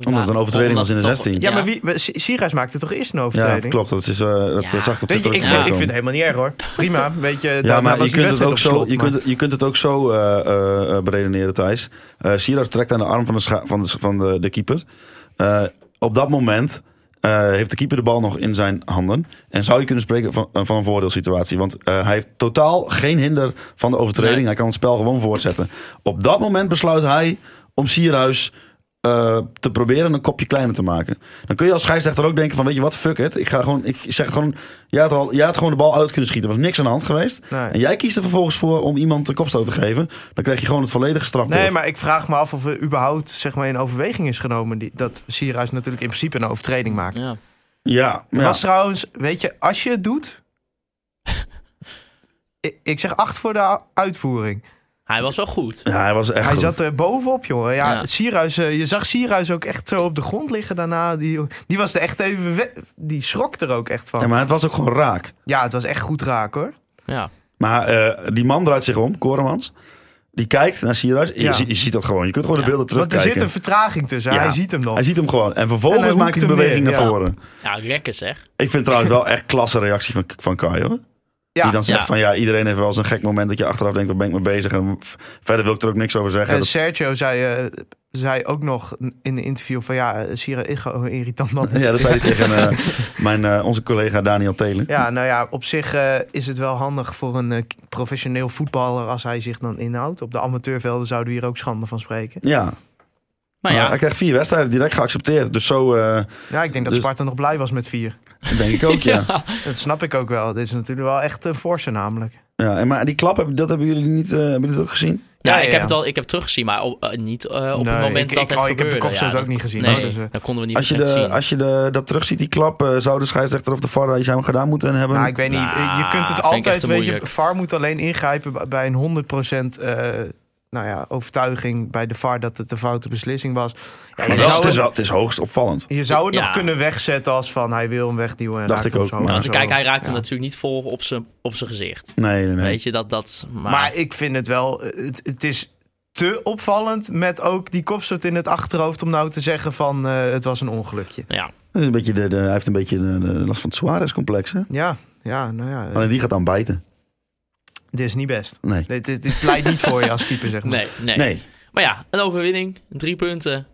F: Omdat het een overtreding was in de
D: het toch-
F: 16.
E: Ja, maar wie, we- Si- Sierhuis maakte toch eerst een
F: Ja,
E: overtreding?
F: klopt. Dat, is, eh, dat
D: Ja.
F: zag ik op
E: Weet je, ik,
F: Twitter ook
E: vind, ik
F: voorkomen.
E: vind het helemaal niet erg hoor. Prima, weet je.
F: Ja,
E: daarna
F: maar
E: was
F: je
E: die
F: kunt,
E: wedstrijd
F: het ook
E: op
F: zo,
E: slot,
F: je,
E: maar-
F: kunt, het- je kunt het ook zo eh, eh, eh, beredeneren, Thijs. Eh Sierhuis trekt aan de arm van de, scha- van de, van de, de keeper. Eh, op dat moment eh, heeft de keeper de bal nog in zijn handen. En zou je kunnen spreken van, eh, van een voordeelsituatie. Want eh, hij heeft totaal geen hinder van de overtreding.
D: Nee.
F: Hij kan het spel gewoon voortzetten. Op dat moment besluit hij om Sierhuis eh, te proberen een kopje kleiner te maken. Dan kun je als scheidsrechter ook denken van, weet je wat, fuck it. Ik, ga gewoon, ik zeg gewoon, jij had, al, jij had gewoon de bal uit kunnen schieten. Er was niks aan de hand geweest.
E: Nee.
F: En jij kiest er vervolgens voor om iemand de kopstoot te geven. Dan krijg je gewoon het volledige strafbeeld.
E: Nee, maar ik vraag me af of er überhaupt zeg maar, in overweging is genomen die, dat Sierhuis natuurlijk in principe een overtreding maakt.
D: Ja.
F: Ja, maar
E: Er
F: ja.
E: was trouwens, weet je, als je het doet. ik, ik zeg acht voor de a- uitvoering.
D: Hij was wel goed.
F: Ja, hij was echt
E: Hij
F: goed.
E: zat er bovenop, jongen. Ja,
D: Ja.
E: Sierhuis, eh, je zag Sierhuis ook echt zo op de grond liggen daarna. Die, die was er echt even. we- die schrok er ook echt van.
F: Ja,
E: Ja,
F: maar het was ook gewoon raak.
E: het was echt goed raak hoor.
D: Ja.
F: Maar eh, die man draait zich om, Koremans. Die kijkt naar Sierhuis. Je,
E: Ja.
F: ziet- je ziet dat gewoon. Je kunt gewoon de
D: Ja.
F: beelden
E: Want er
F: terugkijken.
E: zit een vertraging tussen.
F: Ja.
E: Hij ziet hem nog.
F: Hij ziet hem gewoon. En
E: En
F: vervolgens
E: hij
F: maakt
E: hoekt
F: hij een
E: hem
F: beweging
E: neer,
F: naar
E: ja.
F: voren.
D: Ja, lekker zeg.
F: Ik vind trouwens wel echt klasse reactie van, van Kai, hoor.
E: ja.
F: Die dan zegt
D: Ja.
F: van, ja, iedereen heeft wel eens een gek moment... dat je achteraf denkt, waar ben ik mee bezig? En f- verder wil ik er ook niks over zeggen.
E: Eh,
F: Dat-
E: Sergio zei, eh, zei ook nog in de interview van ja, eh, Sierra is gewoon een irritant man.
F: ja, dat zei hij tegen eh, mijn, eh, onze collega Daniel Telen.
E: Ja, nou ja, op zich eh, is het wel handig voor een eh, professioneel voetballer als hij zich dan inhoudt. Op de amateurvelden zouden we hier ook schande van spreken.
F: Ja,
D: Maar ja,
F: hij krijgt vier wedstrijden direct geaccepteerd. Dus zo eh,
E: Ja, ik denk dat
F: Dus-
E: Sparta nog blij was met vier.
F: denk ik ook, ja. ja.
E: Dat snap ik ook wel. Dit is natuurlijk wel echt een forse namelijk.
F: en, maar die klap, heb- dat hebben jullie niet eh, hebben jullie dat ook gezien?
D: Ja,
E: Ja,
D: ik
E: ja,
D: heb
E: ja.
D: het al, ik heb teruggezien, maar op, eh, niet eh, op
E: Nee,
D: het moment
E: ik-
D: dat
E: ik-
D: het
E: oh, ik heb de
D: gebeurde.
E: kopstoot
D: ja,
E: ook
D: dat-
E: niet gezien.
D: Nee,
E: Dus, eh,
D: dat konden we niet
F: Als je,
D: echt
F: de,
D: zien.
F: als je de, dat terugziet, die klap, eh, zou de scheidsrechter of de VAR iets aan hem gedaan moeten hebben?
E: Nou, ik weet niet.
D: Nou,
E: je
D: vind
E: kunt het
D: ik echt
E: altijd,
D: te
E: weet je,
D: moeilijk.
E: VAR moet alleen ingrijpen b- bij een 100% eh nou ja, overtuiging bij de VAR dat het een foute beslissing was. Ja,
F: maar
E: je
F: wel,
E: zou
F: het,
E: het-
F: is wel, het is hoogst opvallend.
E: Je zou het
D: Ja.
E: nog kunnen wegzetten als van hij wil hem wegduwen. En
F: Dacht
E: raakt
F: ik
E: hem
F: ook,
E: zo
F: maar-
E: en
F: Want
E: zo.
D: Kijk, hij raakt hem
E: Ja.
D: natuurlijk niet vol op zijn op zijn gezicht.
F: Nee, nee, nee.
D: Weet je, dat... dat maar,
E: Maar ik vind het wel, eh, het, het is te opvallend met ook die kopstoot in het achterhoofd om nou te zeggen van eh, het was een ongelukje.
D: ja,
F: Dat is een beetje de, de- hij heeft een beetje de, de last van het Suarez-complex, hè?
E: Ja, ja, nou ja, eh,
D: Oh.
F: Alleen die gaat dan bijten.
E: dit is niet best.
F: Nee.
E: Dit, dit, dit leidt niet voor je als keeper, zeg maar.
D: nee, nee,
F: Nee.
D: Maar ja, een overwinning. Drie punten.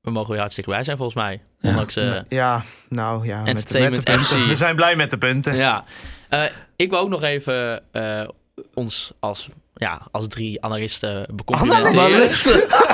D: We mogen weer hartstikke blij zijn volgens mij. Ondanks... eh,
E: Ja, nou ja. met de- Met,
D: Entertainment
E: de punten.
D: FC.
E: We zijn blij met de punten.
D: Ja. Eh, ik wil ook nog even eh, ons als, ja, als drie analisten
F: Maar
D: becomplimenteert.
F: luister,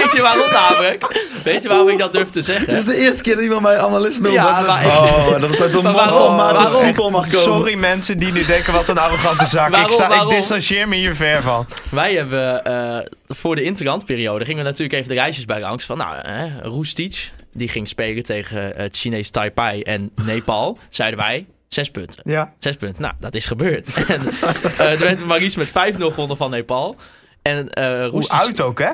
D: Weet je waarom namelijk? Weet je waarom ik dat durf te zeggen?
F: dit is de eerste keer dat iemand mij analist noemt.
D: Ja, maar-
F: Oh, dat het uit de
D: Maar
F: mond van
D: waarom-
F: Maarten
D: waarom-
F: Siepel mag komen.
E: Sorry mensen die nu denken wat een arrogante zaak.
D: Waarom,
E: ik, sta,
D: waarom?
E: ik distancieer me hier ver van.
D: Wij hebben eh, voor de interlandperiode gingen we natuurlijk even de reisjes bij langs van nou, hè, Roestic die ging spelen tegen het Chinees Taipei en Nepal, zeiden wij zes punten.
E: Ja.
D: Zes punten. Nou, dat is gebeurd. en eh, er werd Maries met 5-0 gewonnen van Nepal. En eh
E: Hoe
D: Roestic...
E: uit ook, hè?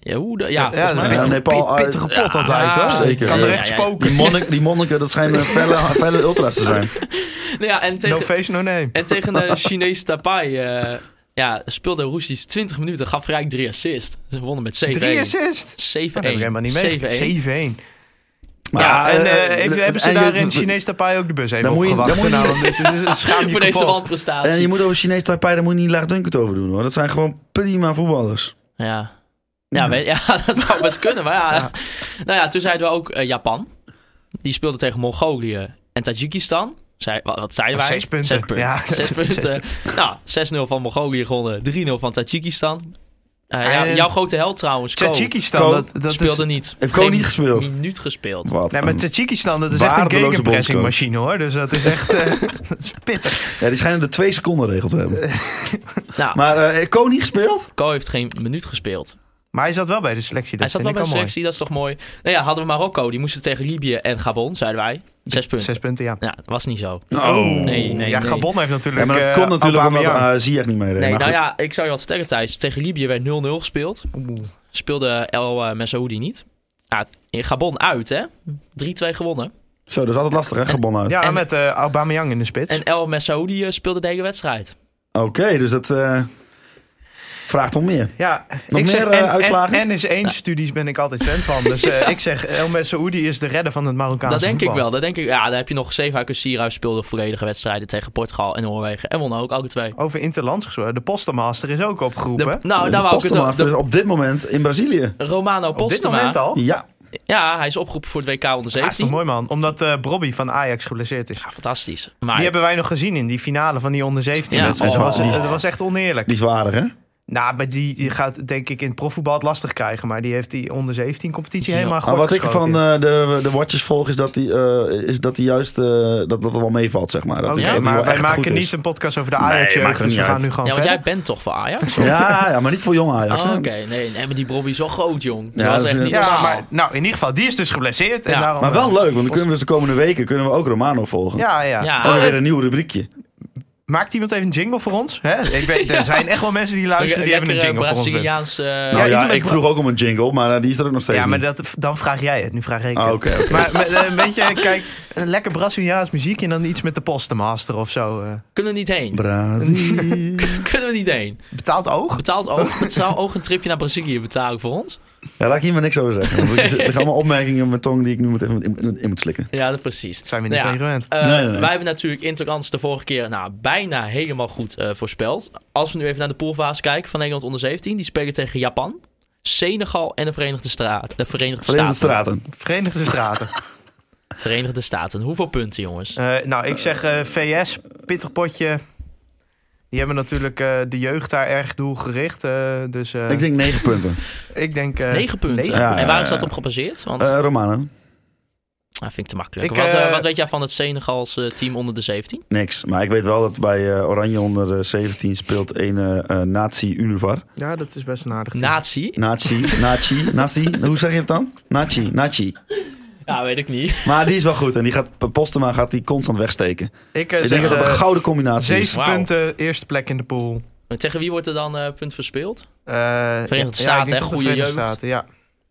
D: Ja, hoe de- ja, volgens
E: dat
D: mij.
E: is
F: Ja,
E: pittig,
F: Nepal uit.
E: pittige
D: Ja,
E: pot altijd, hoor.
F: zeker.
E: Kan
F: Ja,
E: recht
D: ja, ja.
E: spoken.
F: Die, monnik, die monniken, dat schijnen felle, felle ultra's te zijn.
D: Nou ja, en tegen,
E: No face, no name.
D: en tegen de Chinees Taipei eh, ja, speelde Roestic 20 minuten, gaf gelijk drie assists. Ze wonnen met 7-1. 7-1.
E: Drie assist. Dat heb ik helemaal niet mee. 7-1. Ja, en eh,
F: eh,
E: even, hebben ze
F: en je-
E: daar in Chinees Tapai ook de bus even
F: Dan moet je-
E: opgewacht?
F: dan moet
E: Nou, dit is- schaam je
D: Voor deze
E: kapot.
D: wanprestatie.
F: En je moet over Chinees Taipei, daar moet je niet laagdunkend over doen hoor. Dat zijn gewoon prima voetballers.
D: Ja. Ja, weet- ja, dat zou best kunnen. Maar ja. Nou ja, toen zeiden we ook eh, Japan. Die speelde tegen Mongolië en Tajikistan. Zij, wat, wat zeiden wij?
E: Zes punten.
D: Zes punten.
E: Ja,
D: Zes punten. Nou, 6-0 van Mongolië gewonnen. 3-0 van Tajikistan. Eh, ja,
E: En-
D: jouw grote held trouwens, Ko,
E: Tajikistan,
F: Ko
E: dat, dat
D: speelde
E: is...
D: niet.
F: Heeft Ko
D: Geen
F: niet gespeeld?
D: minuut gespeeld.
F: Wat?
E: Nee, maar Tajikistan, dat is echt een
F: Waardeloze
E: gegenpressing
F: bondscoach.
E: machine, hoor. Dus dat is echt... eh, dat is pittig.
F: Ja, die schijnen de twee seconden regel te hebben.
D: Nou,
F: Maar eh heeft Ko niet gespeeld?
D: Ko heeft geen minuut gespeeld.
E: Maar hij zat wel bij de selectie,
D: Hij
E: dat
D: zat
E: vind
D: wel
E: ik
D: bij
E: wel
D: de selectie,
E: mooi.
D: dat is toch mooi. Nou ja, hadden we Marokko. Die moesten tegen Libië en Gabon, zeiden wij. Zes punten.
E: Zes punten, ja.
D: Ja, dat was niet zo.
F: Oh.
D: Nee, nee,
E: ja,
D: nee.
E: Gabon heeft
F: Ja,
E: natuurlijk...
F: maar dat
E: eh,
F: komt natuurlijk omdat
E: Aubameyang.
F: uh, Ziyech niet meedeed.
D: Nee,
F: maar
D: nou
F: goed.
D: ja, ik zou je wat vertellen, Thijs. Tegen Libië werd 0-0 gespeeld. Speelde El eh, Messaoudi niet. Ah, in Gabon uit, hè? 3-2 gewonnen.
F: Zo, dat is altijd lastig hè, Gabon uit.
E: Ja,
D: en-
E: met eh Aubameyang in de spits.
D: En El Messaoudi eh, speelde de hele wedstrijd.
E: Ah,
F: Oké, dus dat eh, vraagt om meer.
E: Ja,
F: Nog
E: ik
F: meer,
E: zeg,
F: eh,
E: en,
F: uitslagen?
E: En, en is één studies ben ik altijd fan van. Dus eh, ik zeg, El Messaoudi is de redder van het Marokkaanse
D: dat denk ik
E: voetbal.
D: wel. Dat denk ik, ja, daar heb je nog Zeefuik en Sierhuis speelden volledige wedstrijden tegen Portugal en Noorwegen. En wonnen ook alle twee.
E: Over interlands gesproken. De Postmaster is ook
D: De-
E: opgeroepen.
D: nou,
F: de
D: daar wou ik het
F: Postmaster
D: over.
F: is op dit moment in Brazilië.
D: de- Romano
E: dus- Op dit
D: Postema.
E: moment al.
F: Ja,
D: Ja, hij is opgeroepen voor het WK onder
E: Ja, is
D: 17.
E: toch mooi man. Omdat eh Bobby van Ajax geblesseerd is.
D: Ja, fantastisch. Maar
E: Die hebben wij nog gezien in die finale van die onder 17
D: Ja.
E: wedstrijd.
F: Oh.
E: Dat, was,
F: Die-
E: dat was echt oneerlijk.
F: die is waardig hè?
E: Nou, maar die, die gaat denk ik in het profvoetbal het lastig krijgen. Maar die heeft die onder 17 competitie
D: Ja.
E: helemaal goed
F: Maar wat ik van eh, de, de watchers volg is dat die, eh, is dat die juist eh, dat, dat er wel meevalt, zeg maar. Dat, die-
E: Oké,
F: dat die
E: Oh, maar
F: wel
E: wij
F: echt goed
E: maken
F: is.
E: niet een podcast over de
F: Nee,
E: Ajax.
F: maakt het
E: dus we
F: niet
E: gaan
F: uit.
E: nu gewoon
D: ja, want
E: verder.
D: jij bent toch voor Ajax?
F: Ja, ja, maar niet voor jong Ajax.
D: Oh,
F: hè.
D: Oké, nee, nee, maar die Bobby is wel groot, jong.
F: Ja,
D: dat was
F: dat is
D: echt
F: een-
D: niet
E: Ja,
D: normaal.
E: maar nou, in ieder geval, die is dus geblesseerd. En
D: Ja.
E: daarom,
F: Maar wel
E: eh,
F: leuk, want dan kunnen we dus de komende weken kunnen we ook Romano volgen.
E: Ja, ja. Oh,
D: Ja.
F: En dan weer een nieuw rubriekje.
E: Maakt iemand even een jingle voor ons? Hè? Ik weet, er zijn echt wel mensen die luisteren die hebben een
D: Lekker,
E: jingle
D: eh,
E: voor ons. willen.
D: Braziliaans. eh,
F: Nou
E: iets
F: ja,
E: met
F: ik
E: Bra-
F: vroeg ook om een jingle, maar eh, die is er ook nog steeds
E: Ja, maar
F: niet.
E: dat, dan vraag jij het. Nu vraag ik
F: Ah,
E: het.
F: oké, oké.
E: Maar met, eh, een beetje, kijk, een lekker Braziliaans muziek en dan iets met de postmaster of zo. eh.
D: Kunnen we niet heen.
F: Brazilië.
D: Kunnen we niet heen.
E: Betaald oog?
D: Betaalt ook. Het zou ook een tripje naar Brazilië betalen voor ons.
F: Ja, laat ik hier maar niks over zeggen. want ik zit- Er gaan allemaal opmerkingen op mijn tong die ik nu moet even in, in- in moet slikken.
D: Ja, dat precies.
E: Zijn we niet
D: Nou
E: van
D: ja,
E: je gewend.
D: eh,
F: Nee, nee, nee.
D: Wij hebben natuurlijk Interlands de vorige keer nou, bijna helemaal goed eh, voorspeld. Als we nu even naar de poolfase kijken van Nederland onder 17. Die spelen tegen Japan, Senegal en de Verenigde, Stra- de Verenigde Staten.
F: Verenigde Straten.
E: Verenigde Straten.
D: Verenigde Staten. Hoeveel punten, jongens?
E: Eh, nou, ik zeg eh, VS, pittig potje. Die hebben natuurlijk eh, de jeugd daar erg doelgericht. eh, dus eh,
F: Ik denk 9 punten.
E: ik denk... eh,
D: Negen punten.
E: negen.
F: Ja,
D: en waar is
F: ja,
D: dat
F: ja.
D: op gebaseerd? Want
F: Eh, Romano,
D: dat vind ik te makkelijk.
E: ik,
D: wat, eh,
E: eh,
D: wat weet jij van het Senegals eh, team onder de 17?
F: niks. Maar ik weet wel dat bij eh, Oranje onder eh, 17 speelt een eh, eh, Nazi Univar.
E: Ja, dat is best een aardig team.
D: Nazi?
F: Nazi, Nazi, Nazi. Hoe zeg je het dan? Nazi, Nazi.
D: Ja, weet ik niet.
F: Maar die is wel goed en die gaat, Postema gaat die constant wegsteken.
E: Ik, eh,
F: Ik
E: zeg
F: denk dat dat een
E: eh,
F: gouden combinatie is.
E: zeven
D: Wauw.
E: punten, eerste plek in de pool.
D: Maar tegen wie wordt er dan eh, punt verspeeld?
E: Eh,
D: Staten,
E: ja, ik denk
D: hè,
E: toch de
D: goede
E: Verenigde
D: jeugd.
E: Staten, ja.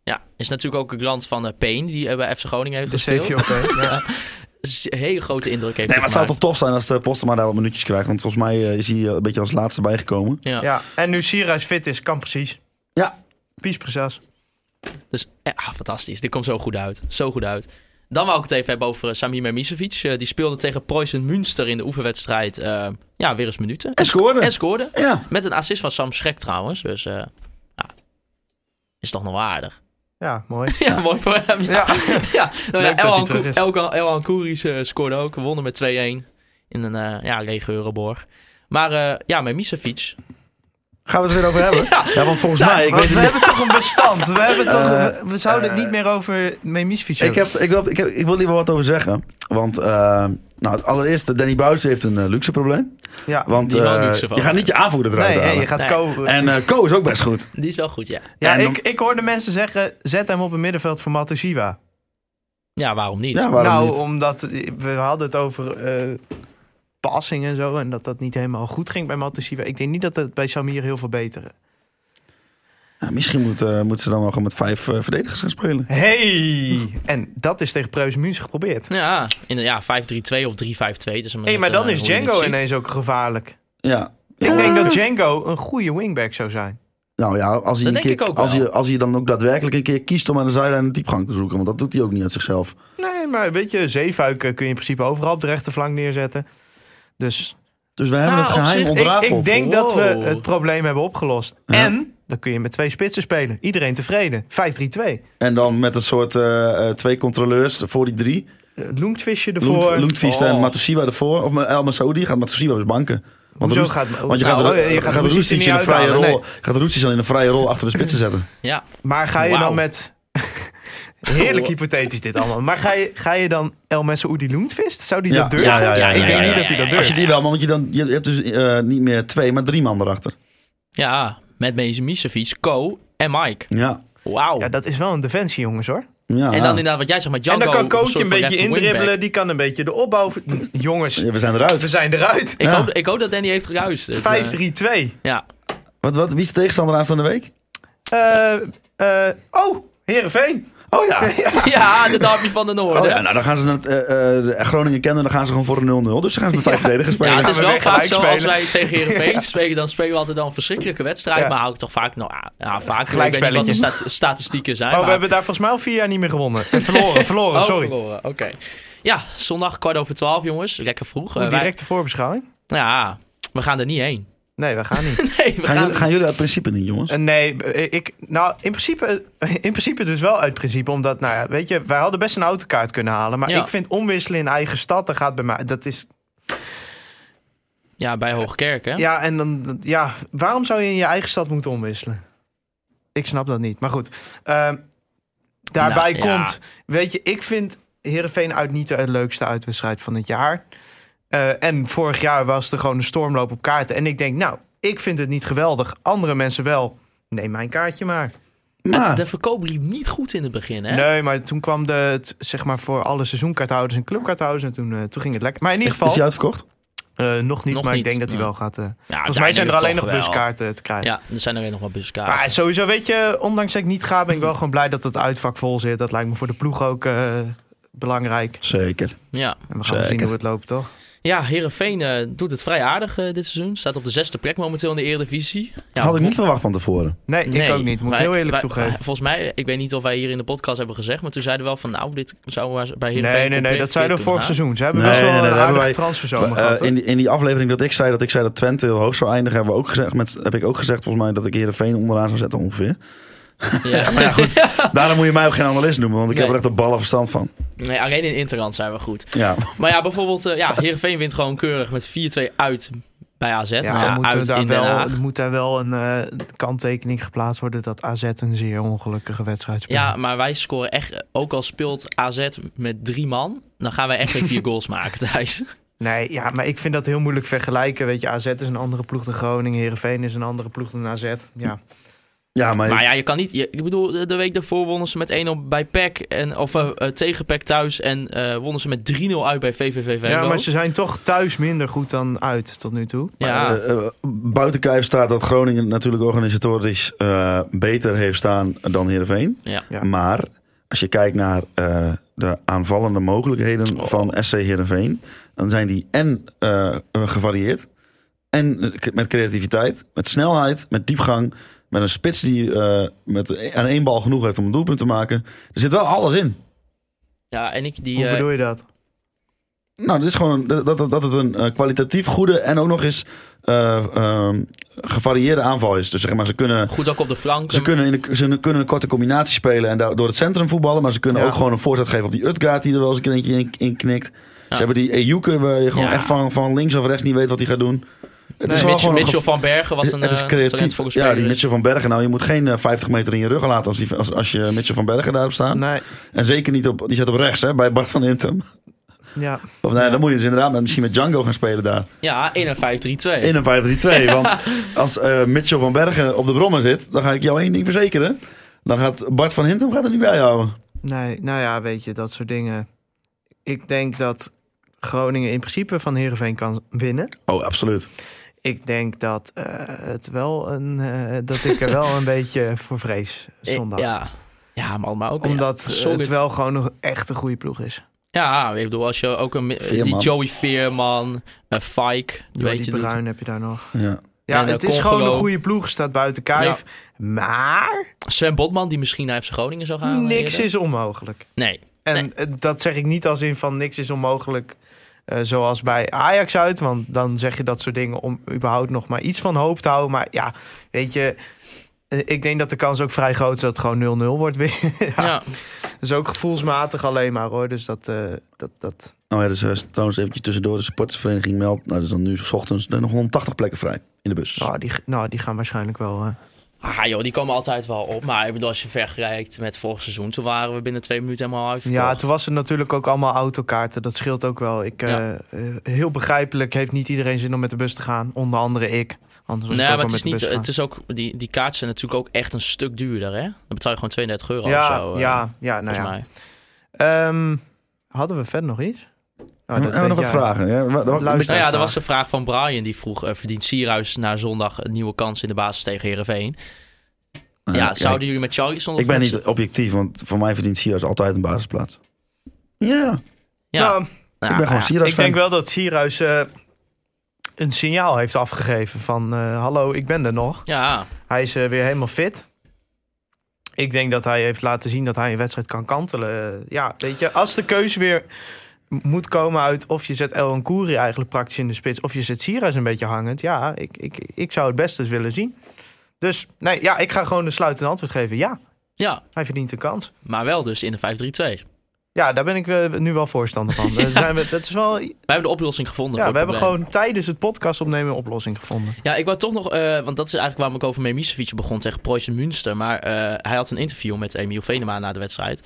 D: Ja, is natuurlijk ook een klant van eh Payne, die eh, bij FC Groningen heeft
E: De
D: gespeeld.
E: CVO. oké. dus Ja.
D: Dus een hele grote indruk heeft
F: Nee,
D: hij
F: maar het zou toch
D: gemaakt.
F: tof zijn als eh, Postema daar wat minuutjes krijgt. Want volgens mij eh, is hij eh, een beetje als laatste bijgekomen.
D: Ja.
E: Ja, en nu Sierhuis fit is, kan precies.
F: Ja.
E: Pies precies.
D: Dus eh, ah, fantastisch, dit komt zo goed uit. Zo goed uit. Dan wou ik het even hebben over eh, Samir Memisevic. Eh, die speelde tegen Preußen Münster in de oefenwedstrijd eh, ja, weer eens minuten.
F: En scoorde.
D: En scoorde.
F: Ja.
D: Met een assist van Sam Schrek trouwens. Dus eh, ja, is toch nog aardig.
E: Ja, mooi.
D: Ja, mooi voor hem. Ja,
E: Ja.
D: ja. Nou,
E: Leuk
D: ja
E: dat hij terug is.
D: Elkan Kouris eh, scoorde ook. Wonnen met 2-1 in een eh ja, lege Euroborg. Maar eh, ja, met Misevic.
F: Gaan we het er weer over hebben? ja. want volgens mij, ik
E: Want
F: weet
E: we
F: het
E: hebben toch een bestand. We, hebben toch,
F: Eh,
E: we, we zouden het
F: eh,
E: niet meer over Memisfiets
F: Ik, heb, ik, wil, ik, heb, ik wil hier wel wat over zeggen. Want eh, nou, allereerst, Danny Buis heeft een eh, luxe probleem.
E: Ja.
F: Want
D: Die wel
F: eh,
D: luxe van.
F: je gaat niet je aanvoerder eruit
E: nee, hè,
F: halen.
E: je gaat
D: Nee.
E: kopen.
F: En eh Co is ook best goed.
D: Die is wel goed, ja.
E: ja,
F: en dan-
E: ik, ik hoorde mensen zeggen, zet hem op het middenveld voor Matosiva.
D: Ja, waarom niet?
F: Ja, waarom
E: nou,
F: niet?
E: omdat we hadden het over eh passing en zo. En dat dat niet helemaal goed ging bij Matosiva. Ik denk niet dat het bij Samir heel veel beter.
F: Nou, misschien moet, eh, moeten ze dan wel gewoon met vijf eh, verdedigers gaan spelen.
E: Hey! En dat is tegen Preus München geprobeerd.
D: Ja, in, ja 5-3-2 of 3-5-2. Dus
E: Hé, maar dan is Django ineens ook gevaarlijk.
F: Ja.
E: Ik denk dat Django een goede wingback zou zijn.
F: Nou ja, als hij,
D: Dat
F: een
D: denk
F: keer,
D: ik ook
F: als,
D: wel.
F: hij, als hij dan ook daadwerkelijk een keer kiest om aan de zijlijn een diepgang te zoeken. Want dat doet hij ook niet uit zichzelf.
E: Nee, maar weet je, zeefuiken kun je in principe overal op de rechterflank neerzetten. Dus
F: Dus we hebben
D: Nou,
F: het
D: op
F: geheim
D: zich, ik-
E: ik,
F: ontrafeld.
E: ik denk dat we
D: Wow.
E: het probleem hebben opgelost. En dan kun je met twee spitsen spelen. Iedereen tevreden. 5-3-2.
F: En dan met een soort eh, eh, twee controleurs voor die drie.
E: Eh, Loentvisje ervoor.
F: Loentviest
E: Oh.
F: en Matosiwa ervoor. Of El Masoudi gaat Matosiwa dus banken. Want,
E: Hoezo
F: Roest-
E: gaat-
F: want je
E: Nou,
F: gaat,
E: oh, je gaat Roestic
F: Roestic
E: niet
F: in een vrije
E: uithalen,
F: rol, gaat Roestic dan in een vrije rol achter de spitsen zetten.
D: Ja,
E: Maar ga je
D: Wauw.
E: dan met... Heerlijk
D: Wow.
E: hypothetisch dit allemaal. Maar ga je, ga je dan El Oedi Loentvist? Zou die
F: Ja,
E: dat durven?
F: ja, ja, ja,
E: ik denk
F: ja,
E: niet
F: ja,
E: dat hij dat
D: ja,
F: Als je
E: durft.
F: die wel, maar want je, dan, je hebt dus eh, niet meer twee, maar drie man erachter.
D: ja, met Misevic, Co en Mike.
F: Ja.
D: Wauw.
E: Ja, dat is wel een defensie, jongens, hoor.
F: ja.
D: en dan inderdaad wat jij zegt, maar
E: En
D: Django...
E: dan kan coach
D: soort van
E: een beetje
D: rechter
E: indribbelen.
D: wingback.
E: Die kan een beetje de opbouw... Jongens,
F: Ja, we zijn eruit.
E: we zijn eruit.
D: Ik,
F: Ja.
D: hoop, ik hoop dat Danny heeft geluisterd.
E: 5-3-2.
D: Eh, ja.
F: Wat, wat, wie is de tegenstander aanstaande week?
E: Eh, eh, oh, Heerenveen.
F: Oh ja.
D: ja, de derby van de Noorden.
F: Oh ja, nou dan gaan ze naar het, eh, eh, Groningen kennen, dan gaan ze gewoon voor een 0-0. Dus ze gaan ze met vijf verdedigers spelen.
D: Ja, het
E: gaan
D: is
E: we
D: wel
E: weer
D: vaak
E: gelijk
D: zo als
E: spelen.
D: wij tegen Heerenveen spelen, dan spelen we altijd dan een verschrikkelijke wedstrijd.
E: Ja.
D: Maar hou ik toch vaak, nou ah, ja, vaak, ik weet niet wat de
E: Gelijkspelletjes.
D: stat- statistieken zijn.
E: Oh, we
D: maar-
E: hebben daar volgens mij al vier jaar niet meer gewonnen. Eh, verloren, verloren,
D: Oh,
E: sorry.
D: verloren, Oké. Ja, zondag kwart over twaalf, jongens. Lekker vroeg. Eh, wij-
E: Directe voorbeschouwing?
D: Ja, we gaan er niet heen.
E: Nee, we gaan niet.
D: Nee, we
F: gaan,
D: gaan...
F: jullie, gaan jullie uit principe niet, jongens?
E: Eh, nee, eh, ik, nou, in principe, in principe dus wel uit principe. Omdat, nou ja, weet je, wij hadden best een autokaart kunnen halen. Maar
D: Ja.
E: ik vind omwisselen in eigen stad, dat gaat bij mij, dat is...
D: Ja, bij Hoogkerk, hè?
E: Ja, en dan, dat- ja, waarom zou je in je eigen stad moeten omwisselen? Ik snap dat niet, maar goed. Ehm, daarbij
D: Nou, ja.
E: komt, weet je, ik vind Heerenveen uit niet de leukste uitwedstrijd van het jaar. Eh, en vorig jaar was er gewoon een stormloop op kaarten. En ik denk, nou, ik vind het niet geweldig. Andere mensen wel. Neem mijn kaartje maar.
F: Maar,
D: Eh, De verkoop liep niet goed in het begin, hè?
E: Nee, maar toen kwam de, het, zeg maar, voor alle seizoenkaarthouders en clubkaarthouders. En toen, eh, toen ging het lekker. Maar in ieder
F: is, is
E: geval,
F: hij uitverkocht?
E: eh, nog niet,
D: Nog
E: maar
D: niet,
E: ik denk dat hij
D: nee. Ah,
E: wel gaat. eh,
D: Ja,
E: volgens mij zijn er
D: uiteindelijk
E: alleen nog
D: toch wel.
E: buskaarten te krijgen.
D: Ja, er zijn er weer nog wat
F: Ah,
D: buskaarten.
E: Maar sowieso, weet je, ondanks dat ik niet ga, ben ik wel gewoon blij dat het uitvak vol zit. Dat lijkt me voor de ploeg ook eh, belangrijk.
F: Zeker.
D: Ja.
E: En we gaan
F: Zeker.
E: zien hoe het loopt, toch?
D: ja, Heerenveen eh, doet het vrij aardig eh, dit seizoen. Staat op de zesde plek momenteel in de Eredivisie. Ja,
F: Had ik niet verwacht van tevoren.
E: Nee,
D: Nee,
E: Eh, ik ook niet. Moet ik
D: wij-
E: heel eerlijk
D: wij-
E: toegeven.
D: wij- Volgens mij, ik weet niet of wij hier in de podcast hebben gezegd, maar toen zeiden we wel van nou, dit zou maar bij Heerenveen
E: nee, nee, nee,
D: compleet
E: dat zeiden we vorig
D: verkeerd
E: seizoen. Ze hebben
F: Nee,
E: best wel
F: nee, nee,
E: een
F: daar hebben
E: aardige
F: wij-
E: transferzomer
F: Eh,
E: gehad. hoor.
F: in, die, in die aflevering dat ik zei dat ik zei dat Twente heel hoog zou eindigen, hebben we ook gezegd, met, heb ik ook gezegd volgens mij dat ik Heerenveen onderaan zou zetten ongeveer.
D: kunnen gaan. Ja.
F: Maar ja, goed. Daarom moet je mij ook geen analist noemen, want ik heb
D: Nee.
F: er echt een ballen verstand van.
D: Nee, alleen in Interland zijn we goed.
F: Ja.
D: Maar ja, bijvoorbeeld, eh, ja, Heerenveen wint gewoon keurig met 4-2 uit bij AZ.
E: ja,
D: nou, ja,
E: moeten we
D: uit
E: daar
D: in Den
E: wel,
D: Haag.
E: er moet daar wel een eh, kanttekening geplaatst worden dat AZ een zeer ongelukkige wedstrijd speelt.
D: Ja, maar wij scoren echt, eh, ook al speelt AZ met drie man, dan gaan wij echt geen vier goals maken, Thijs.
E: Nee, ja, maar ik vind dat heel moeilijk vergelijken. Weet je, AZ is een andere ploeg dan Groningen. Heerenveen is een andere ploeg dan AZ. Ja.
F: Ja, maar,
D: Maar ja, je kan niet. je- ik bedoel, de- de week daarvoor wonnen ze met 1-0 bij PEC. En, of eh, eh, tegen PEC thuis. En eh, wonnen ze met 3-0 uit bij VVV Venlo.
E: ja, maar ze zijn toch thuis minder goed dan uit tot nu toe.
D: Ja.
F: Eh, eh, buiten kijf staat dat Groningen natuurlijk organisatorisch eh, beter heeft staan dan Heerenveen.
D: Ja.
E: Ja.
F: Maar als je kijkt naar eh, de aanvallende mogelijkheden
D: Oh.
F: van SC Heerenveen, dan zijn die en eh, eh, gevarieerd, en eh, met creativiteit, met snelheid, met diepgang, met een spits die eh, met, aan één bal genoeg heeft om een doelpunt te maken. Er zit wel alles in.
D: Ja, en ik die.
E: Hoe
D: eh,
E: bedoel je dat?
F: Nou, dit is gewoon een- dat, dat, dat het een eh, kwalitatief goede en ook nog eens eh, ehm, gevarieerde aanval is. Dus zeg maar, ze kunnen,
D: Goed ook op de flank.
F: ze kunnen, in de, ze kunnen een korte combinatie spelen en daar- door het centrum voetballen. Maar ze kunnen
E: Ja.
F: ook gewoon een voorzet geven op die Utgaard die er wel eens een keer eentje in, in knikt. Ze hebben die Ejuke waar je gewoon
D: Ja.
F: echt van, van links of rechts niet weet wat hij gaat doen. Het
D: Nee,
F: wel
D: Mitch-
F: gewoon een
D: Mitchell
F: gevo-
D: van Bergen, wat een
F: het is
D: eh,
F: creatief.
D: talentvolle
F: Ja,
D: speler
F: die
D: is.
F: Mitchell van Bergen. Nou, je moet geen eh, 50 meter in je rug laten als, die, als, als je Mitchell van Bergen daarop staat.
E: Nee,
F: En zeker niet op, die zat op rechts, hè, bij Bart van Intem.
E: ja.
F: Of nee, dan moet je dus inderdaad met, misschien met Django gaan spelen daar.
D: Ja, 1 en 5, 3, 2.
F: In een 5-3-2. Want als eh, Mitchell van Bergen op de brommer zit, dan ga ik jou één ding verzekeren. Dan gaat Bart van Hintem gaat er niet bij houden.
E: Nee, nou ja, weet je, dat soort dingen. Ik denk dat Groningen in principe van Heerenveen kan winnen.
F: Oh, absoluut.
E: Ik denk dat, eh, het wel een, eh, dat ik er wel een beetje voor vrees zondag.
D: Ja, ja maar, maar ook
E: Omdat
D: ja,
E: eh,
D: solid.
E: het wel gewoon nog echt een goede ploeg is.
D: Ja, ik bedoel, als je ook een... eh, Die
F: Veerman.
D: Joey Veerman, eh Fike, weet
E: Jordi
D: je... doet-
E: Bruin heb je daar nog.
F: Ja.
E: Ja,
D: En, eh,
E: het is
D: Congolo.
E: gewoon een goede ploeg, staat buiten kijf. Maar
D: Sven Botman, die misschien naar FC Groningen zou gaan. eh,
E: niks
D: eerder.
E: is onmogelijk.
D: Nee.
E: En
D: Nee.
E: eh, dat zeg ik niet als in van niks is onmogelijk eh, zoals bij Ajax uit. Want dan zeg je dat soort dingen om überhaupt nog maar iets van hoop te houden. Maar ja, weet je, eh, ik denk dat de kans ook vrij groot is dat het gewoon 0-0 wordt weer. ja,
D: Ja.
E: Dus ook gevoelsmatig alleen maar hoor. Dus dat, eh, dat, dat...
F: Oh ja, dus eh, trouwens eventjes tussendoor. De supportersvereniging meldt, nou, dat is dan nu s ochtends, er zijn nog 180 plekken vrij in de bus.
E: Oh, die, nou, die gaan waarschijnlijk wel... eh,
D: Ah joh, die komen altijd wel op. Maar ik bedoel, als je vergelijkt met vorig seizoen, toen waren we binnen twee minuten helemaal uitverkocht.
E: Ja, toen was het natuurlijk ook allemaal autokaarten. Dat scheelt ook wel. Ik, eh,
D: Ja.
E: eh, heel begrijpelijk heeft niet iedereen zin om met de bus te gaan. Onder andere ik. Anders was
D: Nee,
E: ik ook
D: maar het
E: wel
D: is,
E: met
D: niet,
E: de bus
D: het is ook, die, die kaarten zijn natuurlijk ook echt een stuk duurder, hè? Dan betaal je gewoon 32 euro
E: gegaan.
D: of
E: ja,
D: zo. eh,
E: ja, ja, nou
D: volgens
E: ja.
D: mij.
E: Ehm, hadden we verder nog iets? Nou, dat
F: hebben we
E: weet
F: nog wat
E: jij.
F: vragen? Ja, wa- wa-
E: Luister.
D: Nou ja, er
E: staan.
D: was een vraag van Brian die vroeg: eh, verdient Sierhuis na zondag een nieuwe kans in de basis tegen Herenveen?
F: Nou,
D: ja,
F: kijk,
D: zouden jullie met Charlison? of
F: Ik ben
D: met-
F: niet objectief, want voor mij verdient Sierra's altijd een basisplaats. Ja,
D: Ja,
E: Nou,
D: nou,
F: ik ben gewoon
D: ja.
F: Sierra's
E: ik
F: fan.
E: denk wel dat Sierhuis eh, een signaal heeft afgegeven van... eh, Hallo, ik ben er nog.
D: Ja,
E: Hij is eh, weer helemaal fit. Ik denk dat hij heeft laten zien dat hij een wedstrijd kan kantelen. Eh, ja, weet je, als de keuze weer m- moet komen uit of je zet El Kouri eigenlijk praktisch in de spits... of je zet Sierhuis een beetje hangend. Ja, ik, ik, ik zou het best eens willen zien. Dus nee, ja, ik ga gewoon een sluitend antwoord geven. Ja,
D: ja,
E: hij verdient een kans.
D: maar wel dus in de 5-3-2. Wij
E: Ja, daar ben ik eh, nu wel voorstander van. Daar zijn we, dat is wel, ja,
D: hebben de oplossing gevonden. voor het
E: we hebben
D: probleem.
E: gewoon tijdens het podcast opnemen een oplossing gevonden.
D: Ja, ik wou toch nog, eh, want dat is eigenlijk waarom ik over Memisevic begon tegen Preußen Münster. Maar eh, hij had een interview met Emiel Venema na de wedstrijd.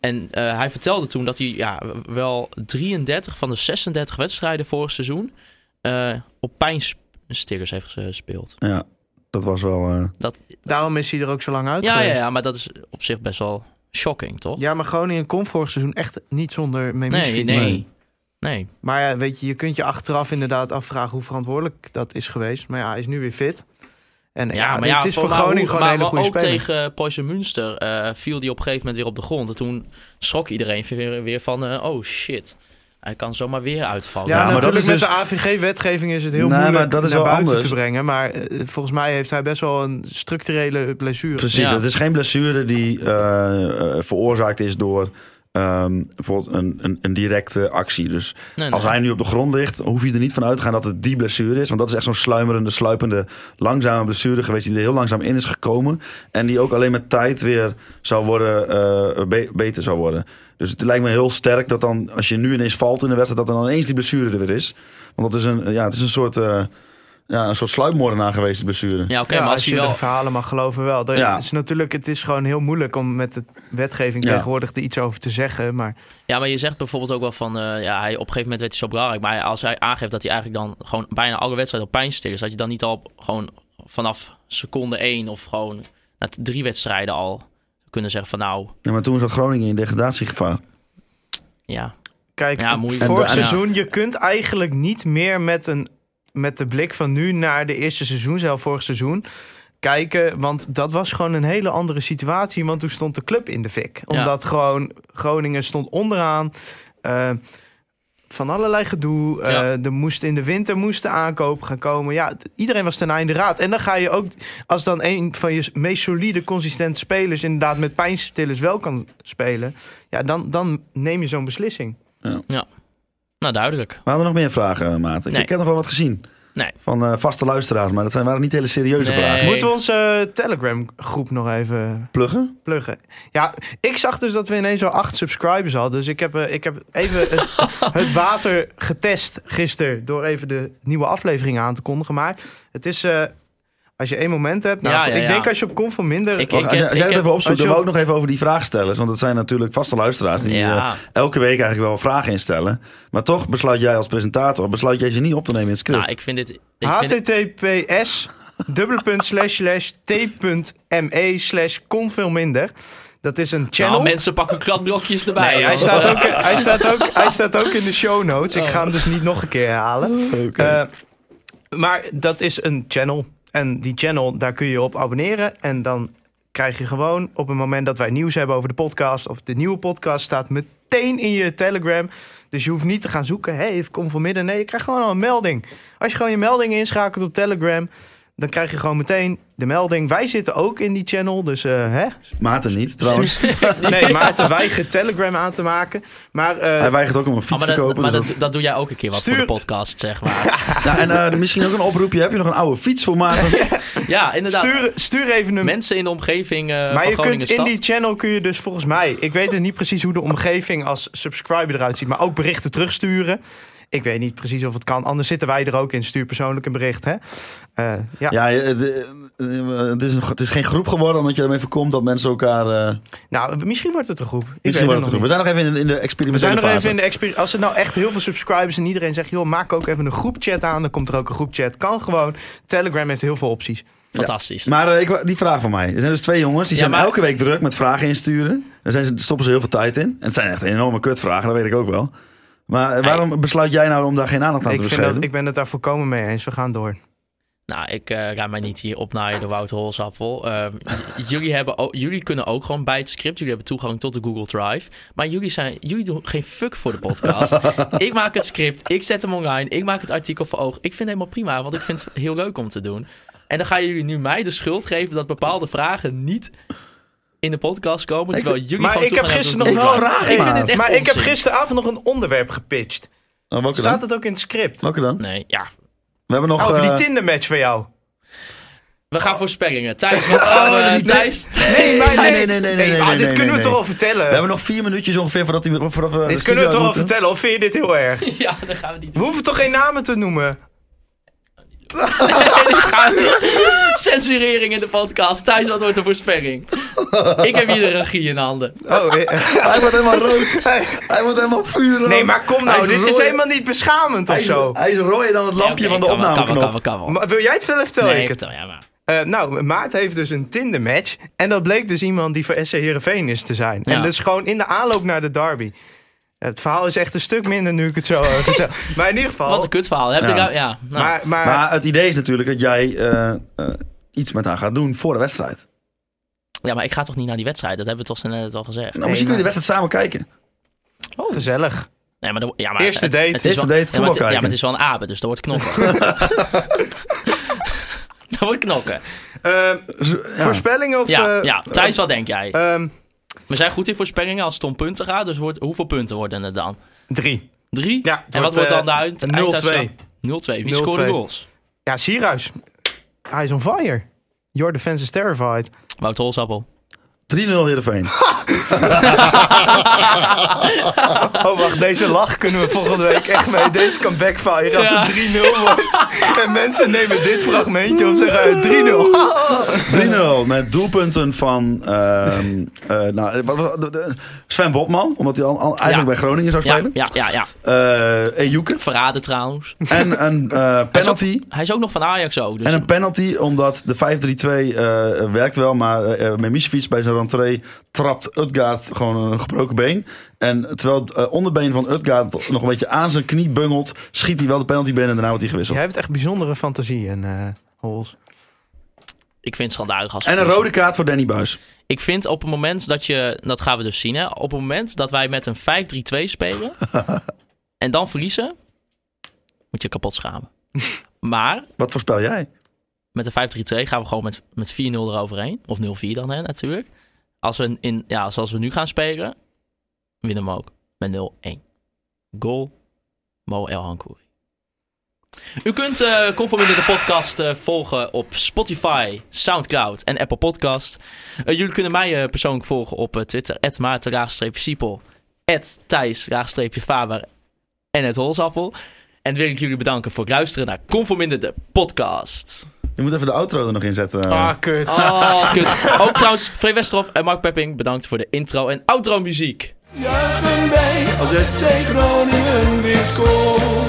D: En eh, hij vertelde toen dat hij ja, wel 33 van de 36 wedstrijden vorig seizoen eh, op pijnstillers heeft gespeeld.
F: Ja, dat was wel... eh,
E: Daarom is hij er ook zo lang uit
D: Ja, ja,
E: geweest.
D: ja, maar dat is op zich best wel shocking, toch?
E: Ja, maar Groningen kon vorig seizoen echt niet zonder Memis
D: nee, nee. Nee.
E: Maar ja, weet je, je kunt je achteraf inderdaad afvragen hoe verantwoordelijk dat is geweest. Maar ja, hij is nu weer fit. En Nou ja,
D: Ja, maar ja,
E: het is voor
D: maar
E: Groningen
D: hoe-
E: gewoon een hele
D: maar,
E: goede
D: maar ook
E: speler.
D: tegen Poison Münster eh, viel die op een gegeven moment weer op de grond. En toen schrok iedereen weer, weer van, eh, oh shit, hij kan zomaar weer uitvallen.
E: Ja, nou-
F: Ja, maar dat
E: natuurlijk
F: is dus-
E: met de AVG-wetgeving is het heel
F: Nee,
E: moeilijk
F: maar dat is
E: naar
F: wel
E: buiten
F: anders.
E: te brengen. Maar eh, volgens mij heeft hij best wel een structurele blessure.
F: Precies,
D: Ja.
F: het is geen blessure die eh, eh, veroorzaakt is door ehm, bijvoorbeeld een, een, een directe actie. Dus
D: Nee, nee.
F: als hij nu op de grond ligt, hoef je er niet van uit te gaan dat het die blessure is. Want dat is echt zo'n sluimerende, sluipende, langzame blessure geweest die er heel langzaam in is gekomen. En die ook alleen met tijd weer zou worden, eh, be- beter zou worden. Dus het lijkt me heel sterk dat dan, als je nu ineens valt in de wedstrijd, dat dan ineens die blessure er weer is. Want dat is een, ja, het is een soort... eh ja, een soort sluipmoordenaar geweest, die blessure.
D: Ja, oké,
E: Ja,
D: maar
E: als,
D: als,
E: je
D: hij wel...
E: de verhalen mag geloven wel. Er
F: Ja.
E: is natuurlijk, het is gewoon heel moeilijk om met de wetgeving
F: Ja.
E: tegenwoordig er iets over te zeggen. Maar
D: Ja, maar je zegt bijvoorbeeld ook wel van, eh, ja, hij, op een gegeven moment werd hij zo belangrijk. Maar als hij aangeeft dat hij eigenlijk dan gewoon bijna alle wedstrijden op pijnstillers, dat je dan niet al op- gewoon vanaf seconde één of gewoon na t- drie wedstrijden al kunnen zeggen van, nou,
F: Ja, maar toen zat Groningen in degradatiegevaar.
D: ja,
E: Kijk,
D: Ja, moeilijk.
E: vorig
F: En- en-
E: seizoen, je kunt eigenlijk niet meer met, een, met de blik van nu naar de eerste seizoen, zelf vorig seizoen, kijken. Want dat was gewoon een hele andere situatie, want toen stond de club in de fik.
D: Ja.
E: Omdat gewoon Groningen stond onderaan. eh, van allerlei gedoe. Eh,
D: Ja.
E: er moest in de winter moesten aankopen gaan komen. Ja, t- iedereen was ten einde raad. En dan ga je ook, als dan een van je s- meest solide, consistente spelers inderdaad met pijnstillers wel kan spelen. Ja, dan, dan neem je zo'n beslissing.
D: nou duidelijk.
F: We hadden nog meer vragen, Maarten. Ik-
D: Nee.
F: Ik heb nog wel wat gezien.
D: Nee.
F: van eh, vaste luisteraars. Maar dat zijn, waren niet hele serieuze
D: Nee.
F: vragen.
E: Moeten we onze Telegram-groep nog even
F: Pluggen?
E: pluggen. Ja, ik zag dus dat we ineens wel acht subscribers hadden. Dus ik heb, eh, ik heb even het, het water getest gisteren door even de nieuwe aflevering aan te kondigen. Maar het is, eh, als je één moment hebt, nou,
D: Ja, ja,
E: ik
D: ja.
E: denk als je op conf van minder...
D: Ik-
F: Wacht, als, jij-
D: heb-
F: als jij
D: ik
F: het
D: heb-
F: even
E: als
F: opzoekt, dan
E: je
F: wil ik
E: op-
F: nog even over die vraagstellers. Want dat zijn natuurlijk vaste luisteraars die
D: Ja.
F: eh, elke week eigenlijk wel vragen instellen. Maar toch besluit jij als presentator, besluit jij ze niet op te nemen in het script.
D: Nou, ik vind dit... Ik vind dit-
E: https dubbele punt slash slash t.me E slash conf veel minder. Dat is een channel.
D: Nou, mensen pakken kladblokjes erbij.
E: Nee, hij,
D: want,
E: staat
D: eh,
E: ook, hij, staat ook, hij staat ook in de show notes.
D: Oh.
E: Ik ga hem dus niet nog een keer herhalen.
F: Oké.
E: Eh, maar dat is een channel. En die channel, daar kun je je op abonneren. En dan krijg je gewoon op het moment dat wij nieuws hebben over de podcast... of de nieuwe podcast staat meteen in je Telegram. Dus je hoeft niet te gaan zoeken. Hé, hey, kom van midden. Nee, je krijgt gewoon al een melding. Als je gewoon je melding inschakelt op Telegram... dan krijg je gewoon meteen de melding. Wij zitten ook in die channel, dus eh, hè?
F: Maarten niet, trouwens.
E: Nee, Maarten weigert Telegram aan te maken. Maar eh,
F: Hij weigert ook om een
D: oh,
F: fiets
D: maar
F: te
D: dat,
F: kopen.
D: maar
F: dus
D: dat, dat doe jij ook een keer wat voor
E: Stuur-
D: de podcast, zeg maar.
F: dat- Nou, en eh, misschien ook een oproepje. Heb je nog een oude fiets voor Maarten?
D: ja, inderdaad.
E: stuur, stuur even een
D: Mensen in de omgeving eh
E: Maar
D: van
E: je kunt in
D: Groningenstad.
E: die channel kun je dus volgens mij, ik weet het niet precies hoe de omgeving als subscriber eruit ziet, maar ook berichten terugsturen. Ik weet niet precies of het kan. Anders zitten wij er ook in. Stuur persoonlijk een bericht, hè? Eh, ja.
F: Ja, je- het- het, is een, het is geen groep geworden omdat je ermee voorkomt dat mensen elkaar... eh,
E: Nou, misschien wordt het een groep. Ik
F: misschien
E: weet
F: wel
E: het nog
F: terug.
E: niet.
F: We zijn nog even in, in
E: We
F: de
E: zijn
F: experimentele
E: nog even
F: fase.
E: in de exper- Als er nou echt heel veel subscribers en iedereen zegt, joh, maak ook even een groepchat aan, dan komt er ook een groepchat. Kan gewoon. Telegram heeft heel veel opties.
D: Fantastisch.
F: Maar eh, ik, wa- die vraag van mij. Er zijn dus twee jongens die
D: Ja,
F: zijn
D: maar-
F: elke week druk met vragen insturen. Daar zijn ze, stoppen ze heel veel tijd in. En het zijn echt enorme kutvragen, dat weet ik ook wel. Maar eh, waarom besluit jij nou om daar geen aandacht aan
E: Ik,
F: te
E: vind
F: besteden?
E: dat, ik ben het daar volkomen mee eens. We gaan door.
D: Nou, ik eh ga mij niet hier opnaaien door Wouter Holsappel. Ehm, j- jullie, hebben ook- jullie kunnen ook gewoon bij het script. Jullie hebben toegang tot de Google Drive. Maar jullie, zijn, jullie doen geen fuck voor de podcast. ik maak het script. Ik zet hem online. Ik maak het artikel voor oog. Ik vind het helemaal prima, want ik vind het heel leuk om te doen. En dan gaan jullie nu mij de schuld geven dat bepaalde vragen niet in de podcast komen. Terwijl jullie
E: maar
D: gewoon
E: ik heb
D: toegang hebben
E: gisteren
D: tot
E: nog
D: de
E: wel-
D: Google Drive.
F: Ik
D: Ik
F: vraag maar.
D: vind dit echt
E: Maar ik heb
D: onzin.
E: gisteravond nog een onderwerp gepitcht.
F: Oh, welke,
E: Staat
F: dan?
E: het ook in het script?
F: welke dan?
D: Nee, ja.
F: We hebben nog...
E: Oh, over die
F: eh,
E: Tinder match van jou.
D: We gaan voor spellingen. Thijs, wat gaan we-
F: Oh, die-
D: Thijs,
E: Nee,
D: Thijs,
E: nee, nee,
F: nee,
E: nee,
F: nee, nee,
E: nee,
F: nee,
E: ah,
F: nee,
E: dit
F: nee,
E: kunnen we
F: nee.
E: toch al vertellen?
F: we hebben nog vier minuutjes ongeveer voordat, die, voordat we...
E: dit kunnen we toch al vertellen? Of vind je dit heel erg?
D: Ja, dat gaan we niet doen.
E: We hoeven toch geen namen te noemen?
D: En ik ga censurering in de podcast. Thijs, wat wordt de voorspelling? Ik heb hier de regie in handen.
E: Oh, eh,
F: Hij wordt helemaal rood. Hij wordt helemaal vuurrood.
E: nee, maar kom
F: Hij
E: nou. Dit is
F: rooier-
E: helemaal niet beschamend of
F: hij is,
E: zo.
F: Hij is rooier dan het lampje
D: Ja, oké,
F: van de
D: kan wel,
F: opnameknop.
D: Kan wel, kan wel, kan wel.
E: Maar wil jij het vertellen? Vertel
D: Nee,
E: ik het.
D: vertel, ja, maar.
E: Eh, nou, Maart heeft dus een Tinder match. En dat bleek dus iemand die voor SC Heerenveen is te zijn.
D: Ja.
E: En dus gewoon in de aanloop naar de derby. Het verhaal is echt een stuk minder nu ik het zo eh, vertel. Maar in ieder geval.
D: Wat een kutverhaal. Heb ik
F: Ja.
D: nou- ja, nou.
E: maar, maar,
F: Maar het idee is natuurlijk dat jij eh, eh, iets met haar gaat doen voor de wedstrijd. Nou,
D: ja, maar ik ga toch niet naar die wedstrijd? Dat hebben we toch net al gezegd.
F: Nou, misschien kun je de wedstrijd samen kijken.
E: gezellig.
D: Nee, maar, dan- ja, maar
E: Eerste date.
D: is wel-
F: Eerste date,
D: ja, maar het-
F: voetbal
D: Ja, maar
F: kijken.
D: het is wel een abe, dus dat wordt knokken. dat wordt knokken.
E: Eh, Voorspellingen of.
D: Ja,
E: eh,
D: ja. Thijs, wat denk jij?
E: ehm,
D: We zijn goed in voorspellingen als het om punten gaat. Dus wordt, hoeveel punten worden het dan?
E: drie.
D: Drie?
E: Ja, het
D: en wat
E: wordt,
D: wordt dan de
E: eh,
D: uit-
E: 0-2.
D: einduitslag? 0-2. Wie scoort de
E: 0-2.
D: goals?
E: Ja, Sierhuis. Hij is on fire. Your defense is terrified.
D: Wouter Holsappel.
F: 3-0 Heerenveen.
E: Oh, wacht. Deze lach kunnen we volgende week echt mee. Deze kan backfire als
D: Ja.
E: het 3-0 wordt. En mensen nemen dit fragmentje om en zeggen eh, 3-0.
F: 3-0 met doelpunten van ehm, eh, nou, wat- wat- de- de- Sven Botman, omdat hij al, al eigenlijk
D: Ja.
F: bij Groningen zou
D: Ja,
F: spelen.
D: ja, ja, ja.
F: Eh, Ejuke.
D: Verraden trouwens.
F: En een eh, penalty.
D: Hij is ook nog van Ajax ook. Dus
F: En een penalty, omdat de 5-3-2 eh, werkt wel, maar eh Memicevic bij zijn rentree trapt Utgaard gewoon een gebroken been. En terwijl het eh, onderbeen van Utgaard nog een beetje aan zijn knie bungelt, schiet hij wel de penalty binnen en daarna wordt hij gewisseld.
E: Jij hebt echt bijzondere fantasieën, eh Hols.
D: ik vind het schandalig als
F: En een rode kaart voor Danny Buis.
D: Ik vind op het moment dat je... Dat gaan we dus zien, hè. Op het moment dat wij met een 5-3-2 spelen... en dan verliezen... Moet je kapot schamen. maar
F: Wat voorspel jij?
D: met een 5-3-2 gaan we gewoon met, met 4-0 eroverheen. Of 0-4 dan, hè, natuurlijk. Als we in, ja, zoals we nu gaan spelen... Winnen we ook. Met 0-1. Goal. Mo El Hankouri. U kunt eh Conforminder de podcast eh, volgen op Spotify, Soundcloud en Apple Podcast. Eh, jullie kunnen mij eh, persoonlijk volgen op eh, Twitter. At maarten-siepel. thijs-faber. En het holsappel. En wil ik jullie bedanken voor het luisteren naar Conforminder de podcast.
F: Je moet even de outro er nog in zetten.
E: Ah, kut.
D: Oh, wat kut. Ook trouwens, Free Westerhof en Mark Pepping, bedankt voor de intro en outro muziek.
A: Juichen wij als FC Groningen weer scoort.